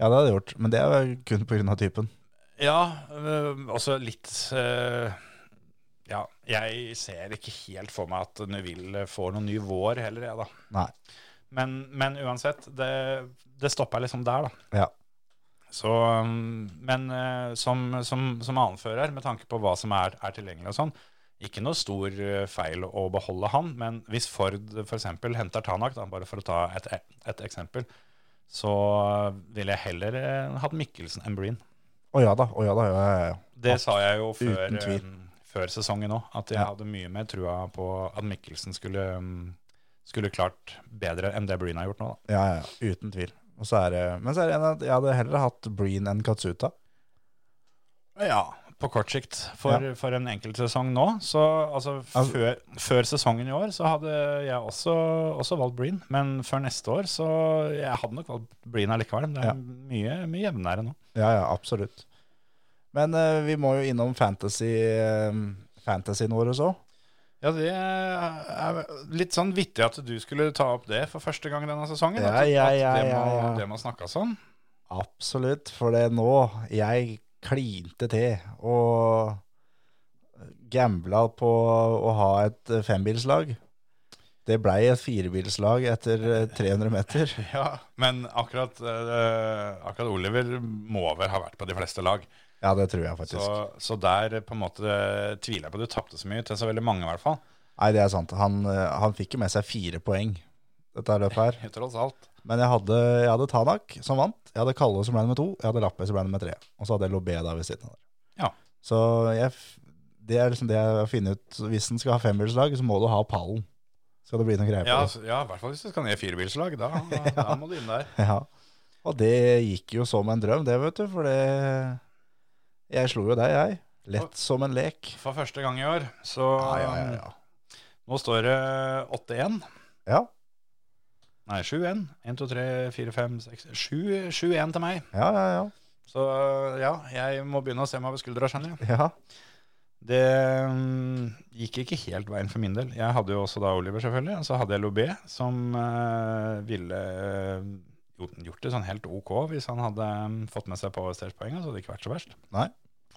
Speaker 4: Ja, det hadde jeg gjort. Men det er jo kun pga. typen.
Speaker 3: Ja, eh, også litt eh, ja, jeg ser ikke helt for meg at Nuville får noen ny vår heller, jeg, da.
Speaker 4: Nei.
Speaker 3: Men, men uansett, det, det stoppa liksom der, da.
Speaker 4: Ja.
Speaker 3: Så, um, men eh, som, som, som annenfører, med tanke på hva som er, er tilgjengelig og sånn, ikke noe stor eh, feil å beholde han, men hvis Ford f.eks. henter Tanak, da, bare for å ta et, et eksempel, så ville jeg heller eh, hatt Mikkelsen enn Breen.
Speaker 4: Å ja da. Å ja da. Ja, ja, ja.
Speaker 3: Det sa jeg jo før,
Speaker 4: Uten tvil.
Speaker 3: um, før sesongen òg, at jeg
Speaker 4: Ja.
Speaker 3: hadde mye mer trua på at Mikkelsen skulle, um, skulle klart bedre enn det Breen har gjort nå. Da.
Speaker 4: Ja, ja, ja, uten tvil. Og så er det, men så er det en at jeg hadde heller hatt Breen enn Katsuta.
Speaker 3: Ja, på kort sikt. For, for en enkeltsesong nå. Så altså,
Speaker 4: Altså-
Speaker 3: før, før sesongen i år så hadde jeg også, også valgt Breen. Men før neste år så Jeg hadde nok valgt Breen allikevel. Men det er
Speaker 4: Ja.
Speaker 3: mye, mye jevnere nå.
Speaker 4: Ja, ja, absolutt. Men eh, vi må jo innom fantasy, eh, fantasyen vår også.
Speaker 3: Ja, det er litt sånn vittig at du skulle ta opp det for første gang denne sesongen.
Speaker 4: Ja,
Speaker 3: at,
Speaker 4: ja,
Speaker 3: at
Speaker 4: ja,
Speaker 3: det, må,
Speaker 4: ja, ja.
Speaker 3: det må snakkes om.
Speaker 4: Absolutt, for det er nå jeg klinte til og gambla på å ha et eh, fembilslag. Det blei et firebilslag etter eh, 300 meter.
Speaker 3: Ja, men akkurat, eh, akkurat Oliver må vel ha vært på de fleste lag.
Speaker 4: Ja, det tror jeg faktisk.
Speaker 3: Så, så der på en måte tviler jeg på. Du tapte så mye til så veldig mange, i hvert fall.
Speaker 4: Nei, det er sant. Han, eh, han fikk jo med seg fire poeng, dette løpet her.
Speaker 3: Tross alt.
Speaker 4: Men jeg hadde, jeg hadde Tanak som vant, jeg hadde Kalle som ble nummer to, jeg hadde Lappe som ble nummer tre. Og så hadde jeg Lobé der ved siden av. der.
Speaker 3: Ja.
Speaker 4: Så jeg, f- det er liksom det jeg har funnet ut. Så Hvis en skal ha fembilslag, så må du ha pallen. Skal det bli noen greier på
Speaker 3: Ja,
Speaker 4: det.
Speaker 3: altså, ja, i hvert fall hvis du skal ned i firebilslag. Da, da må du inn der.
Speaker 4: Ja. Og det gikk jo som en drøm, det, vet du. For det Jeg slo jo deg, jeg. Lett som en lek.
Speaker 3: For første gang i år, så
Speaker 4: Ja, ja, ja. ja.
Speaker 3: Nå står det 8-1.
Speaker 4: ja,
Speaker 3: Nei, 7-1. 1, 2, 3, 4, 5, 6 7, 7-1 til meg.
Speaker 4: ja, ja, ja.
Speaker 3: Så ja, jeg må begynne å se meg over skuldra, skjønner jeg.
Speaker 4: ja.
Speaker 3: Det mm, gikk ikke helt veien for min del. Jeg hadde jo også da Oliver, selvfølgelig. Og så hadde jeg Lobé, som eh, ville eh, gjort- gjort det sånn helt ok hvis han hadde mm, fått med seg på seierspoenget. Så hadde det ikke vært så verst.
Speaker 4: Nei.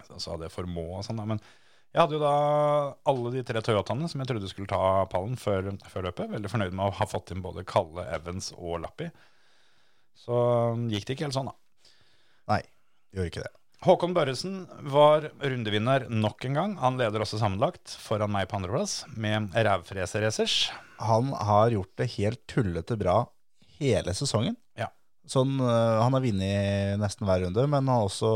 Speaker 3: Så, så hadde jeg Formå og sånn, da. Men jeg hadde jo da alle de tre Toyotaene som jeg trodde skulle ta pallen før, før løpet. Veldig fornøyd med å ha fått inn både Kalle, Evans og Lappi. Så mm, gikk det ikke helt sånn, da.
Speaker 4: Nei, gjorde ikke det.
Speaker 3: Håkon Børresen var rundevinner nok en gang. Han leder også sammenlagt foran meg på andreplass med rævfreser-racers.
Speaker 4: han har gjort det helt tullete bra hele sesongen.
Speaker 3: Ja.
Speaker 4: Sånn, øh, han har vunnet nesten hver runde, men han har også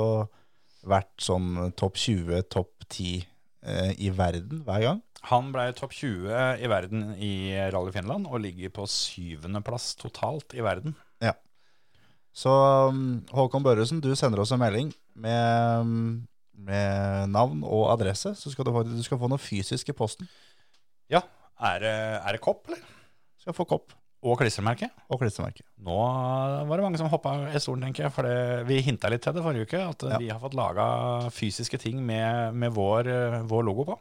Speaker 4: vært sånn topp 20, topp 10 eh, i verden hver gang.
Speaker 3: Han ble topp 20 i verden i Rally Finland og ligger på syvendeplass totalt i verden.
Speaker 4: Så um, Håkon Børresen, du sender oss en melding med, um, med navn og adresse, så skal du, få- du skal få noe fysisk i posten.
Speaker 3: Ja, er det, er det kopp, eller?
Speaker 4: Du skal få kopp
Speaker 3: Og klistremerke?
Speaker 4: og klistremerke.
Speaker 3: Nå var det mange som hoppa i stolen, tenker jeg. For det, vi hinta litt til det forrige uke, at
Speaker 4: Ja.
Speaker 3: vi har fått laga fysiske ting med, med vår, eh, vår logo på.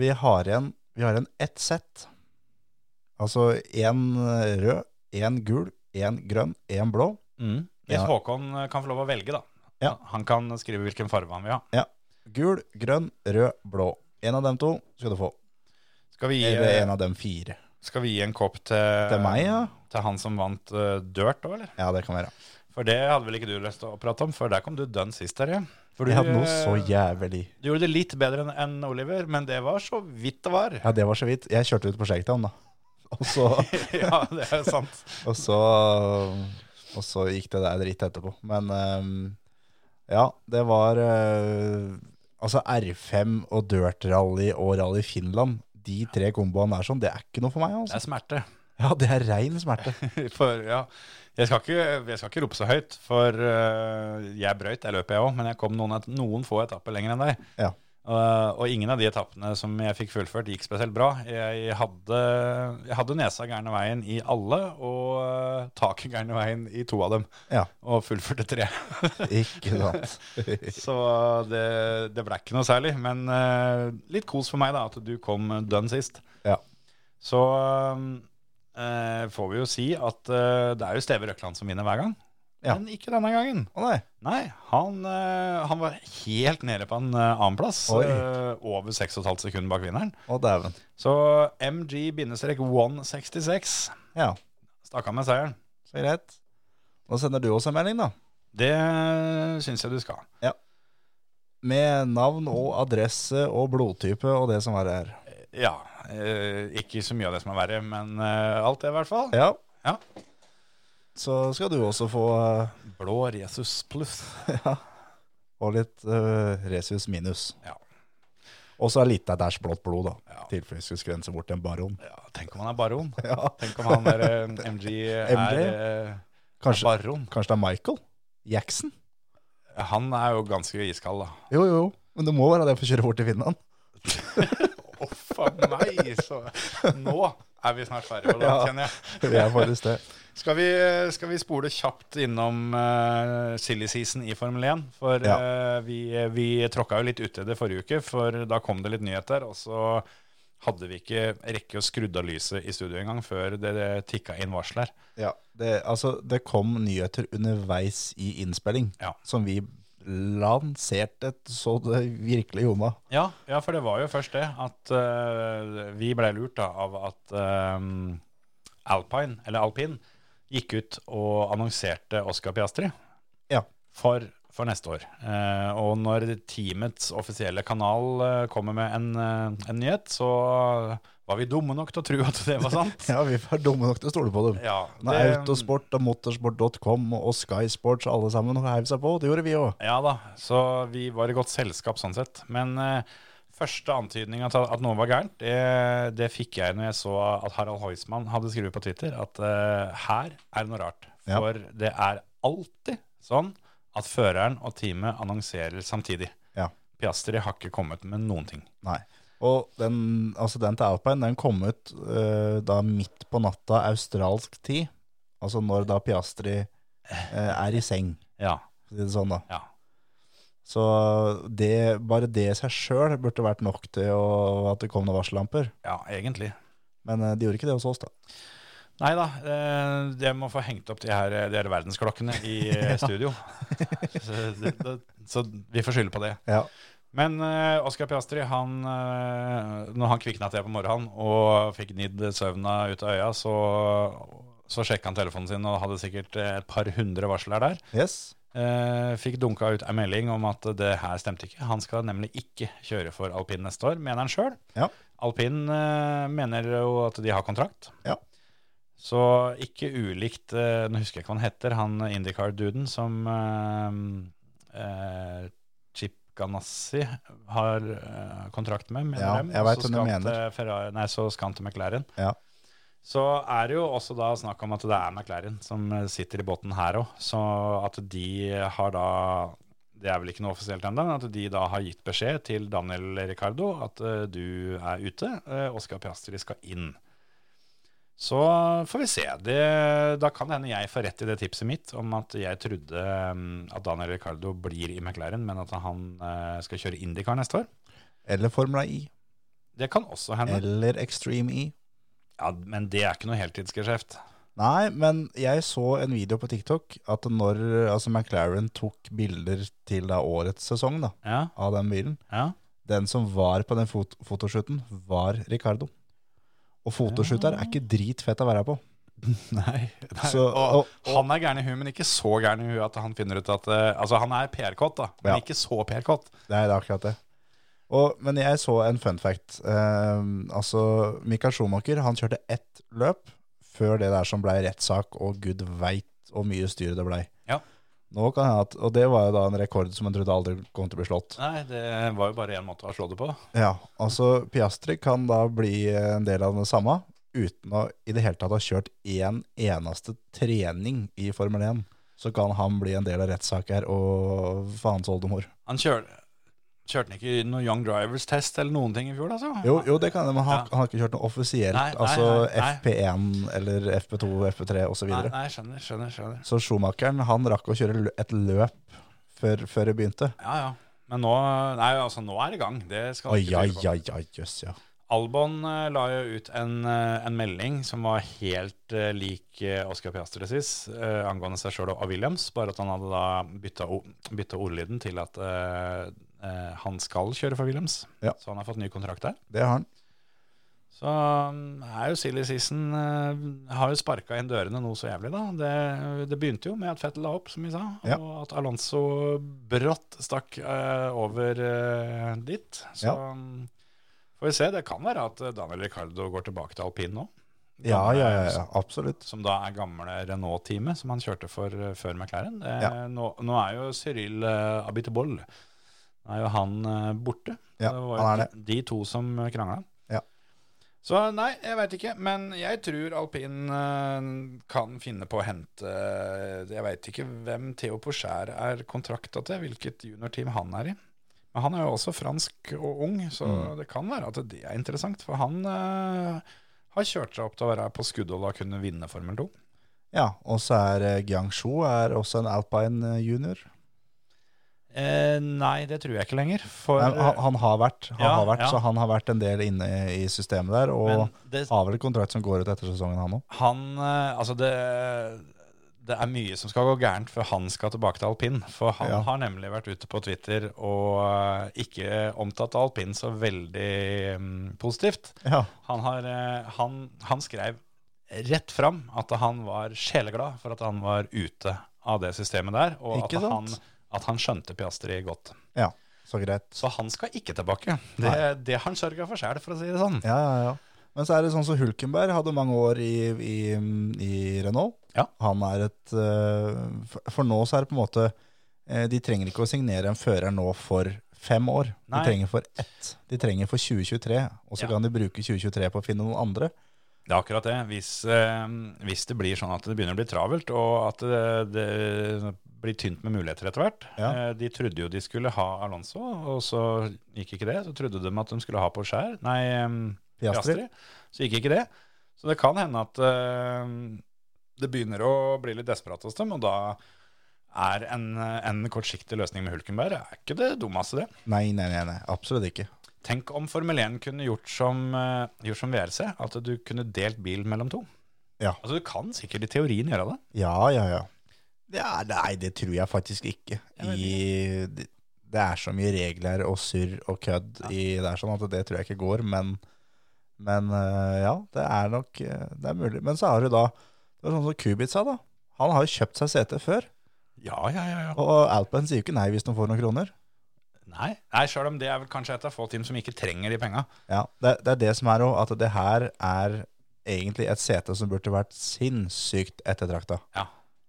Speaker 4: Vi har igjen, vi har igjen ett sett. Altså én rød, én gul, én grønn, én blå.
Speaker 3: Mm. Hvis
Speaker 4: Ja.
Speaker 3: Håkon kan få lov å velge, da.
Speaker 4: Ja.
Speaker 3: Han kan skrive hvilken farge han vil ha.
Speaker 4: Gul, grønn, rød, blå. En av dem to skal du få.
Speaker 3: Skal vi gi,
Speaker 4: Eller en av dem fire.
Speaker 3: Skal vi gi en kopp til,
Speaker 4: Til meg, ja?
Speaker 3: til han som vant eh, Dirt òg, eller?
Speaker 4: Ja, det kan være.
Speaker 3: For det hadde vel ikke du lyst til å prate om, for der kom du dønn sist der, ja. For
Speaker 4: Jeg hadde noe
Speaker 3: eh,
Speaker 4: så jævlig.
Speaker 3: du gjorde det litt bedre enn enn Oliver, men det var så vidt det var.
Speaker 4: Ja, det var så vidt. Jeg kjørte ut på Shakedown, da. Og så,
Speaker 3: ja, det er sant.
Speaker 4: og så Og så gikk det der dritt etterpå. Men ehm, ja, det var eh, Altså R5 og Dirt Rally og Rally Finland, de tre komboene der sånn, det er ikke noe for meg,
Speaker 3: Det
Speaker 4: altså.
Speaker 3: er smerte.
Speaker 4: Ja, det er rein smerte.
Speaker 3: For ja, jeg skal ikke, jeg skal ikke rope så høyt, for eh, jeg brøyt, jeg løp jeg òg, men jeg kom noen, et- noen få etapper lenger enn deg.
Speaker 4: Ja.
Speaker 3: Eh, og ingen av de etappene som jeg fikk fullført, gikk spesielt bra. Jeg hadde, jeg hadde nesa gærne veien i alle, og eh, taket gærne veien i to av dem.
Speaker 4: Ja.
Speaker 3: Og fullførte tre.
Speaker 4: Ikke sant.
Speaker 3: Så eh, det, det ble ikke noe særlig. Men eh, litt kos for meg da, at du kom dønn sist.
Speaker 4: Ja.
Speaker 3: Så eh, får vi jo si at eh, det er jo Steve Røkland som vinner hver gang.
Speaker 4: Ja.
Speaker 3: men ikke denne gangen.
Speaker 4: Å nei.
Speaker 3: Nei, han, eh, han var helt nede på en eh, annenplass.
Speaker 4: Oi.
Speaker 3: eh, Over 6,5 sekunder bak vinneren.
Speaker 4: Å dæven.
Speaker 3: Så MG-166
Speaker 4: Ja,
Speaker 3: stakk av med seieren.
Speaker 4: så greit. Nå sender du også en melding, da.
Speaker 3: Det syns jeg du skal.
Speaker 4: Med navn og adresse og blodtype og det som verre er.
Speaker 3: Ja. eh, Ikke så mye av det som er verre, men eh, alt det, i hvert fall.
Speaker 4: Ja.
Speaker 3: Ja.
Speaker 4: Så skal du også få, eh,
Speaker 3: Blå Jesus pluss.
Speaker 4: ja, få litt eh, resus minus.
Speaker 3: Ja.
Speaker 4: Og så er litt av dæsj blått blod, da.
Speaker 3: Ja.
Speaker 4: Tilfelle vi skulle skrense bort en baron.
Speaker 3: Ja, tenk om han er baron.
Speaker 4: Ja.
Speaker 3: Tenk om han der eh, MG er
Speaker 4: MG?
Speaker 3: eh,
Speaker 4: Kanskje,
Speaker 3: baron.
Speaker 4: kanskje det er Michael Jackson?
Speaker 3: Han er jo ganske iskald, da.
Speaker 4: Jo, jo, jo. Men det må være det for å kjøre bort til Finland.
Speaker 3: Å, faen meg! Så nå er vi snart ferdige med det,
Speaker 4: Ja.
Speaker 3: kjenner jeg.
Speaker 4: Det er faktisk det.
Speaker 3: Skal vi, skal vi spole kjapt innom eh, silly season i Formel 1? For eh, vi, vi tråkka jo litt uti det forrige uke, for da kom det litt nyheter. Og så hadde vi ikke rekke å skrudd av lyset i studio engang før det, det tikka inn varsler.
Speaker 4: Ja, det, altså, det kom nyheter underveis i innspilling
Speaker 3: Ja.
Speaker 4: som vi lanserte så det virkelig gjorde.
Speaker 3: Ja, ja, for det var jo først det at eh, vi ble lurt da, av at eh, Alpine, eller Alpine, gikk ut og annonserte Oscar Piastri
Speaker 4: Ja.
Speaker 3: for, for neste år. Eh, og når teamets offisielle kanal eh, kommer med en, eh, en nyhet, så var vi dumme nok til å tro at det var sant.
Speaker 4: Ja, vi var dumme nok til å stole på dem.
Speaker 3: ja,
Speaker 4: Når Autosport og motorsport.com og Sky Sports alle sammen heiv seg på, det gjorde vi òg.
Speaker 3: Ja da, så vi var i godt selskap sånn sett. Men eh, første antydninga til at noe var gærent, det, det fikk jeg når jeg så at Harald Heismann hadde skrevet på Twitter at eh, her er det noe rart.
Speaker 4: Ja.
Speaker 3: For det er alltid sånn at føreren og teamet annonserer samtidig.
Speaker 4: Ja.
Speaker 3: Piastri har ikke kommet med noen ting.
Speaker 4: Nei. Og den, altså den til Alpine den kom ut eh, da midt på natta australsk tid. Altså når da Piastri eh, er i seng,
Speaker 3: Ja,
Speaker 4: for å si det sånn, da.
Speaker 3: ja.
Speaker 4: Så det, bare det i seg sjøl burde vært nok til å, at det kom noen varsellamper.
Speaker 3: Ja, egentlig.
Speaker 4: Men eh, de gjorde ikke det hos oss, da.
Speaker 3: Nei da, eh, jeg må få hengt opp de her, de her verdensklokkene i eh, studio. så, det, det, så vi får skylde på det.
Speaker 4: Ja.
Speaker 3: Men uh, Oskar Piastri, han, eh, når han kvikna til på morgenen og fikk nidd søvna ut av øya, så, så sjekka han telefonen sin og hadde sikkert eh, et par hundre varsler der.
Speaker 4: Yes.
Speaker 3: Eh, fikk dunka ut ei melding om at det her stemte ikke. Han skal nemlig ikke kjøre for alpin neste år, mener han sjøl.
Speaker 4: Ja.
Speaker 3: Alpin eh, mener jo at de har kontrakt.
Speaker 4: Ja.
Speaker 3: Så ikke ulikt eh, Nå husker jeg ikke hva han heter, han Indicar-duden som eh, eh, Chip Ganassi har eh, kontrakt med, mener
Speaker 4: Ja,
Speaker 3: dem.
Speaker 4: jeg
Speaker 3: Så
Speaker 4: vet hvem du
Speaker 3: skal han
Speaker 4: mener.
Speaker 3: til Ferrari, nei, så skal han til McLaren.
Speaker 4: Ja.
Speaker 3: Så er det jo også da snakk om at det er McLaren som eh, sitter i båten her òg. Så at de har da Det er vel ikke noe offisielt ennå, men at de da har gitt beskjed til Daniel Ricardo at eh, du er ute. eh, Oscar Piastri skal inn. Så får vi se. Det, da kan det hende jeg får rett i det tipset mitt om at jeg trodde mm, at Daniel Ricardo blir i McLaren, men at han eh, skal kjøre Indycar neste år.
Speaker 4: Eller Formula I.
Speaker 3: Det kan også hende.
Speaker 4: Eller Extreme I.
Speaker 3: Ja, men det er ikke noe heltidsgeskjeft.
Speaker 4: Nei, men jeg så en video på TikTok at når altså McLaren tok bilder til da årets sesong da,
Speaker 3: Ja,
Speaker 4: av den bilen,
Speaker 3: ja.
Speaker 4: den som var på den fot fotoshooten, var Ricardo. Og fotoshooter er ikke dritfett å være på.
Speaker 3: Nei. Nei.
Speaker 4: Så-
Speaker 3: og,
Speaker 4: og-
Speaker 3: han er gæren i huet, men ikke så gæren i huet at han finner ut at eh, Altså, han er PR-kåt, da, men
Speaker 4: Ja.
Speaker 3: ikke så PR-kåt.
Speaker 4: Nei, det er akkurat det. Og, men jeg så en fun fact. Eh, altså, Mikael Schumacher han kjørte ett løp før det der som blei rettssak, og gud veit hvor mye styr det blei.
Speaker 3: Ja.
Speaker 4: Nå kan jeg at, Og det var jo da en rekord som en trodde aldri kom til å bli slått.
Speaker 3: Nei, det var jo bare én måte å slå det på.
Speaker 4: Ja, altså Piastri kan da bli en del av det samme, uten å i det hele tatt ha kjørt én eneste trening i Formel 1. Så kan han bli en del av rettssaker og faens oldemor.
Speaker 3: Han kjør, kjørte han ikke noen Young Drivers Test eller noen ting i fjor, altså?
Speaker 4: Jo, jo det kan det, men han,
Speaker 3: Ja.
Speaker 4: han har ikke kjørt noe offisielt.
Speaker 3: Nei, nei,
Speaker 4: altså
Speaker 3: nei, nei.
Speaker 4: FP1 eller FP2, FP3 osv.
Speaker 3: Nei,
Speaker 4: Så,
Speaker 3: nei, skjønner, skjønner, skjønner.
Speaker 4: så Schumacheren han rakk å kjøre lø- et løp før, før det begynte.
Speaker 3: Ja, ja. Men nå, nei, altså, nå er det i gang. Det skal
Speaker 4: Oi,
Speaker 3: ikke
Speaker 4: ja,
Speaker 3: tvile på.
Speaker 4: ja, ja, jøss, ja.
Speaker 3: Albon eh, la jo ut en, eh, en melding som var helt eh, lik eh, Oscar Piastresis eh, angående seg sjøl og Williams, bare at han hadde da bytta, o- bytta ordlyden til at eh, eh, han skal kjøre for Williams.
Speaker 4: Ja.
Speaker 3: Så han har fått ny kontrakt der.
Speaker 4: Det har han.
Speaker 3: Så um, er jo silly season eh, Har jo sparka inn dørene noe så jævlig, da. Det, det begynte jo med at Fettel la opp, som vi sa,
Speaker 4: Ja.
Speaker 3: og at Alonso brått stakk eh, over eh, dit. Så
Speaker 4: Ja.
Speaker 3: um, får vi se. Det kan være at Daniel Ricardo går tilbake til alpin nå.
Speaker 4: Ja, ja, ja, ja absolutt.
Speaker 3: Som da er gamle Renault-teamet som han kjørte for eh, før McLaren. Det,
Speaker 4: Ja.
Speaker 3: nå, nå er jo Cyril uh, Abiteboll Nå er jo han eh, borte.
Speaker 4: Ja,
Speaker 3: det var jo
Speaker 4: han er det.
Speaker 3: de, de to som krangla.
Speaker 4: Ja.
Speaker 3: Så nei, jeg veit ikke. Men jeg tror alpin eh, kan finne på å hente eh, Jeg veit ikke hvem Theo Porcher er kontrakta til, hvilket juniorteam han er i. Men han er jo også fransk og ung, så
Speaker 4: Mm.
Speaker 3: det kan være at det er interessant. For han eh, har kjørt seg opp til å være på skuddet og da kunne vinne Formel 2.
Speaker 4: Ja, og så er eh, Guangzhou er også en alpine eh, junior.
Speaker 3: Eh, nei, det tror jeg ikke lenger. For eh,
Speaker 4: Nei, han, han har vært, han
Speaker 3: Ja,
Speaker 4: har vært
Speaker 3: ja.
Speaker 4: så han har vært en del inne i systemet der. Og
Speaker 3: Men det-
Speaker 4: har vel kontrakt som går ut etter sesongen, han òg.
Speaker 3: han eh, Altså, det, det er mye som skal gå gærent før han skal tilbake til alpin. For han
Speaker 4: Ja.
Speaker 3: har nemlig vært ute på Twitter og eh, ikke omtalt alpin så veldig mm, positivt.
Speaker 4: Ja.
Speaker 3: Han, har, eh, han, han skrev rett fram at han var sjeleglad for at han var ute av det systemet der, og at
Speaker 4: Ikke sant?
Speaker 3: han, at han skjønte Piastri godt.
Speaker 4: ja, så greit.
Speaker 3: Så han skal ikke tilbake. Det, det har han sørga for sjæl, for å si det sånn.
Speaker 4: Ja, ja, ja. Men så er det sånn som Hulkenberg hadde mange år i, i, i Renault.
Speaker 3: Ja.
Speaker 4: Han er et eh, for- For nå så er det på en måte eh, De trenger ikke å signere en fører nå for fem år.
Speaker 3: Nei.
Speaker 4: De trenger for ett. De trenger for 2023, og så
Speaker 3: Ja.
Speaker 4: kan de bruke 2023 på å finne noen andre.
Speaker 3: Det er akkurat det. Hvis, eh, hvis det blir sånn at det begynner å bli travelt, og at det, det blir tynt med muligheter etter hvert
Speaker 4: Ja.
Speaker 3: eh, De trodde jo de skulle ha Alonso, og så gikk ikke det. Så trodde de at de skulle ha Porcher, nei, eh,
Speaker 4: Piastri.
Speaker 3: Piastri. Så gikk ikke det. Så det kan hende at eh, det begynner å bli litt desperat hos dem, og da er en, eh, en kortsiktig løsning med Hulkenberg er ikke det dummeste, det.
Speaker 4: Nei, nei, nei, nei, absolutt ikke.
Speaker 3: Tenk om Formel 1 kunne gjort som, eh, gjort som VRC, at du kunne delt bil mellom to.
Speaker 4: Ja.
Speaker 3: Altså Du kan sikkert i teorien gjøre det.
Speaker 4: Ja, ja, ja. Det er, nei, det tror jeg faktisk ikke.
Speaker 3: vet
Speaker 4: I, det, det er så mye regler og surr og kødd i det er sånn at det tror jeg ikke går, men, men eh, ja, det er nok eh, Det er mulig. Men så har du da Det var sånn som Kubica, da. Han har jo kjøpt seg sete før,
Speaker 3: Ja, ja, ja. ja.
Speaker 4: og Alpine sier jo ikke nei hvis de får noen kroner.
Speaker 3: Nei, Nei sjøl om det er vel kanskje et av få team som ikke trenger de penga.
Speaker 4: Ja, det, det er det som er òg, at det her er egentlig et sete som burde vært sinnssykt ettertrakta.
Speaker 3: Ja.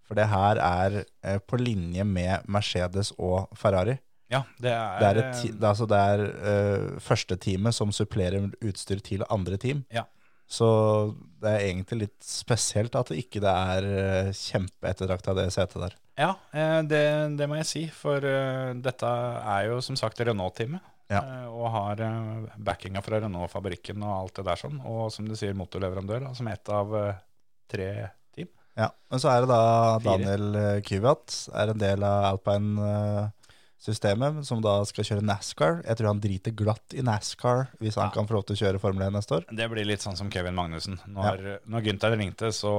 Speaker 4: For det her er eh, på linje med Mercedes og Ferrari.
Speaker 3: ja, det er,
Speaker 4: Det er, et, ti- det er, altså det er eh, første teamet som supplerer utstyr til andre team.
Speaker 3: Ja.
Speaker 4: Så det er egentlig litt spesielt at det ikke det er eh, kjempeettertrakta det setet der.
Speaker 3: Ja, eh, det, det må jeg si, for eh, dette er jo som sagt Renault-teamet.
Speaker 4: Ja.
Speaker 3: eh, Og har eh, backinga fra Renault-fabrikken og alt det der sånn. Og som du sier, motorleverandør, da, som ett av eh, tre team.
Speaker 4: Ja. Men så er det da
Speaker 3: Fire.
Speaker 4: Daniel eh, Kyvat, er en del av Alpine-systemet, som da skal kjøre NASCAR. Jeg tror han driter glatt i NASCAR hvis han
Speaker 3: Ja.
Speaker 4: kan få lov til å kjøre Formel 1 neste år.
Speaker 3: Det blir litt sånn som Kevin Magnussen. Når, når Gunther ringte, så,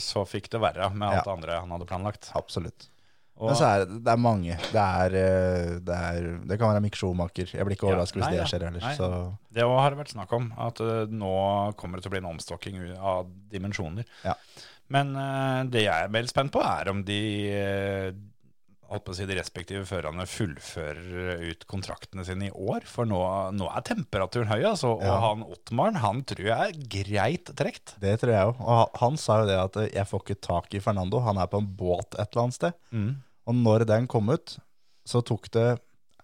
Speaker 3: så fikk det være med alt
Speaker 4: Ja.
Speaker 3: det andre han hadde planlagt.
Speaker 4: Absolutt.
Speaker 3: Og-
Speaker 4: Men så er det, det er mange. Det, er, eh, det, er, det kan være Mick Schumacher. Jeg blir ikke
Speaker 3: Ja,
Speaker 4: overrasket
Speaker 3: nei
Speaker 4: hvis det
Speaker 3: da.
Speaker 4: skjer ellers.
Speaker 3: Nei.
Speaker 4: Så
Speaker 3: Det også har det vært snakk om, at eh, nå kommer det til å bli en omstokking u- av dimensjoner.
Speaker 4: Ja.
Speaker 3: Men eh, det jeg er mer spent på, er om de eh, holdt på å si de respektive førerne fullfører ut kontraktene sine i år. For nå, nå er temperaturen høy, altså. Og
Speaker 4: Ja.
Speaker 3: han Ottmaren, han tror jeg er greit trukket.
Speaker 4: Det tror jeg òg. Og han- han sa jo det at eh, 'jeg får ikke tak i Fernando', han er på en båt et eller annet sted. Og når den kom ut, så tok det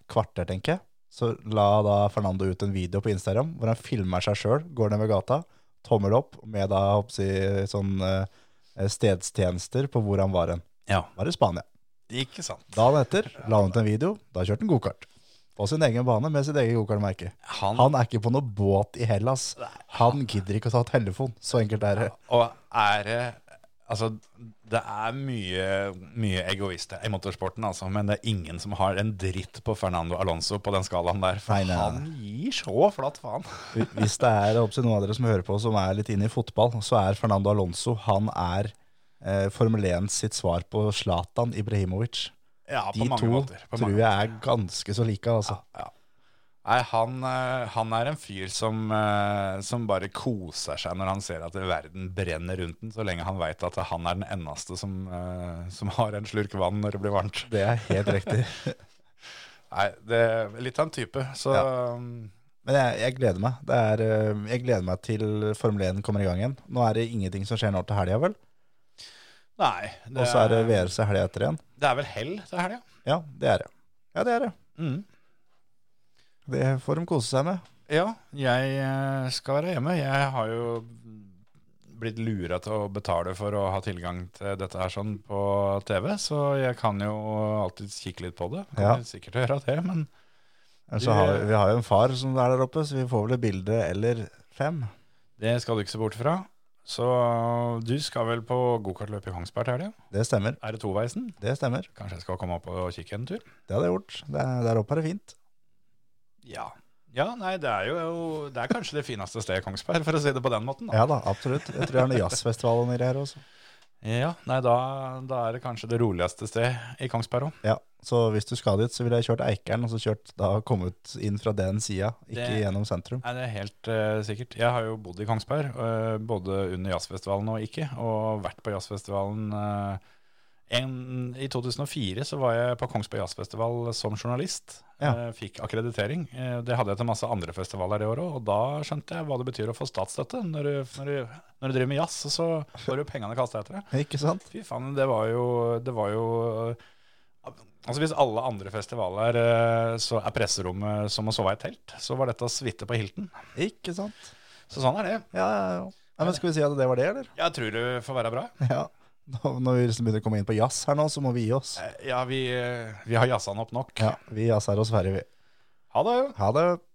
Speaker 4: kvarter, tenker jeg. Så la da Fernando ut en video på Instagram hvor han filmer seg sjøl, går ned ved gata, tommel opp med da håper jeg, å si, sånn eh, stedstjenester på hvor han var hen.
Speaker 3: Ja,
Speaker 4: Var i Spania.
Speaker 3: ikke sant.
Speaker 4: Dagen etter la han ut en video, da kjørte han gokart. På sin egen bane med sitt eget gokartmerke.
Speaker 3: Han-
Speaker 4: Han er ikke på noe båt i Hellas. Han gidder ikke å ta telefon. Så enkelt er det.
Speaker 3: Og er det Altså, det er mye, mye egoister i motorsporten, altså, men det er ingen som har en dritt på Fernando Alonso på den skalaen der. For
Speaker 4: Nei, nei, nei.
Speaker 3: han gir så flatt faen.
Speaker 4: Hvis det er jeg håper å si, noen av dere som hører på som er litt inne i fotball, så er Fernando Alonso han er eh, Formel 1 sitt svar på Zlatan Ibrahimovic.
Speaker 3: Ja, på
Speaker 4: De
Speaker 3: mange
Speaker 4: to
Speaker 3: måter. På
Speaker 4: tror
Speaker 3: mange.
Speaker 4: jeg er ganske så like, altså.
Speaker 3: Ja. Nei, han, eh, han er en fyr som, eh, som bare koser seg når han ser at verden brenner rundt den, så lenge han veit at han er den eneste som, eh, som har en slurk vann når det blir varmt.
Speaker 4: Det er helt riktig.
Speaker 3: Nei, det er litt av en type. Så um,
Speaker 4: Men jeg, jeg gleder meg. Det er, eh, jeg gleder meg til Formel 1 kommer i gang igjen. Nå er det ingenting som skjer nå til helga, vel?
Speaker 3: Nei.
Speaker 4: Og så er det VRC helga etter igjen.
Speaker 3: Det er vel hell til helga?
Speaker 4: Ja, det er det. Ja, det er det.
Speaker 3: Mm.
Speaker 4: Det får de kose seg med.
Speaker 3: Ja, jeg eh, skal være hjemme. Jeg har jo blitt lura til å betale for å ha tilgang til dette her sånn på TV, så jeg kan jo alltid kikke litt på det. Kan
Speaker 4: Ja.
Speaker 3: jo sikkert gjøre det, men
Speaker 4: Ellers
Speaker 3: Du-
Speaker 4: så har vi, vi har jo en far som er der oppe, så vi får vel et bilde eller fem.
Speaker 3: det skal du ikke se bort fra. Så du skal vel på gokartløp i Kongsberg til helga?
Speaker 4: Det stemmer.
Speaker 3: Er det toveisen?
Speaker 4: Det stemmer.
Speaker 3: Kanskje jeg skal komme opp og kikke en tur?
Speaker 4: Det hadde jeg gjort. Det er, der oppe er det fint.
Speaker 3: Ja. Ja, nei, det er jo Det er kanskje det fineste stedet i Kongsberg, for å si det på den måten. Da.
Speaker 4: Ja da, absolutt. Jeg tror det er noe jazzfestival og noe greier også.
Speaker 3: Ja, nei, da, da er det kanskje det roligste sted i Kongsberg òg.
Speaker 4: Ja, så hvis du skal dit, så ville jeg kjørt Eikeren, og så kjørt da kommet inn fra den sida, ikke
Speaker 3: Det-
Speaker 4: gjennom sentrum.
Speaker 3: Nei, det er helt eh, sikkert. Jeg har jo bodd i Kongsberg, eh, både under jazzfestivalen og ikke, og vært på jazzfestivalen eh, en, I 2004 så var jeg på Kongsberg jazzfestival som journalist.
Speaker 4: Ja.
Speaker 3: Eh, fikk akkreditering. Eh, det hadde jeg til masse andre festivaler det året òg, og da skjønte jeg hva det betyr å få statsstøtte. Når du, når du, når du driver med jazz, så får du pengene kasta etter deg.
Speaker 4: Ikke sant?
Speaker 3: Fy faen, det var jo, det var jo Altså Hvis alle andre festivaler eh, så er presserommet som å sove i et telt, så var dette å suite på Hilton.
Speaker 4: Ikke sant?
Speaker 3: Så sånn er det.
Speaker 4: Ja, ja, ja. Nei, men skal vi si at det var det, eller?
Speaker 3: Jeg tror det får være bra.
Speaker 4: Ja. Nå- Når vi liksom begynner å komme inn på jazz her nå, så må vi gi oss.
Speaker 3: Eh, Ja, vi, eh, vi har jazza den opp nok.
Speaker 4: Ja, vi jazzer oss ferdig, vi.
Speaker 3: Ha det!
Speaker 4: Ha det.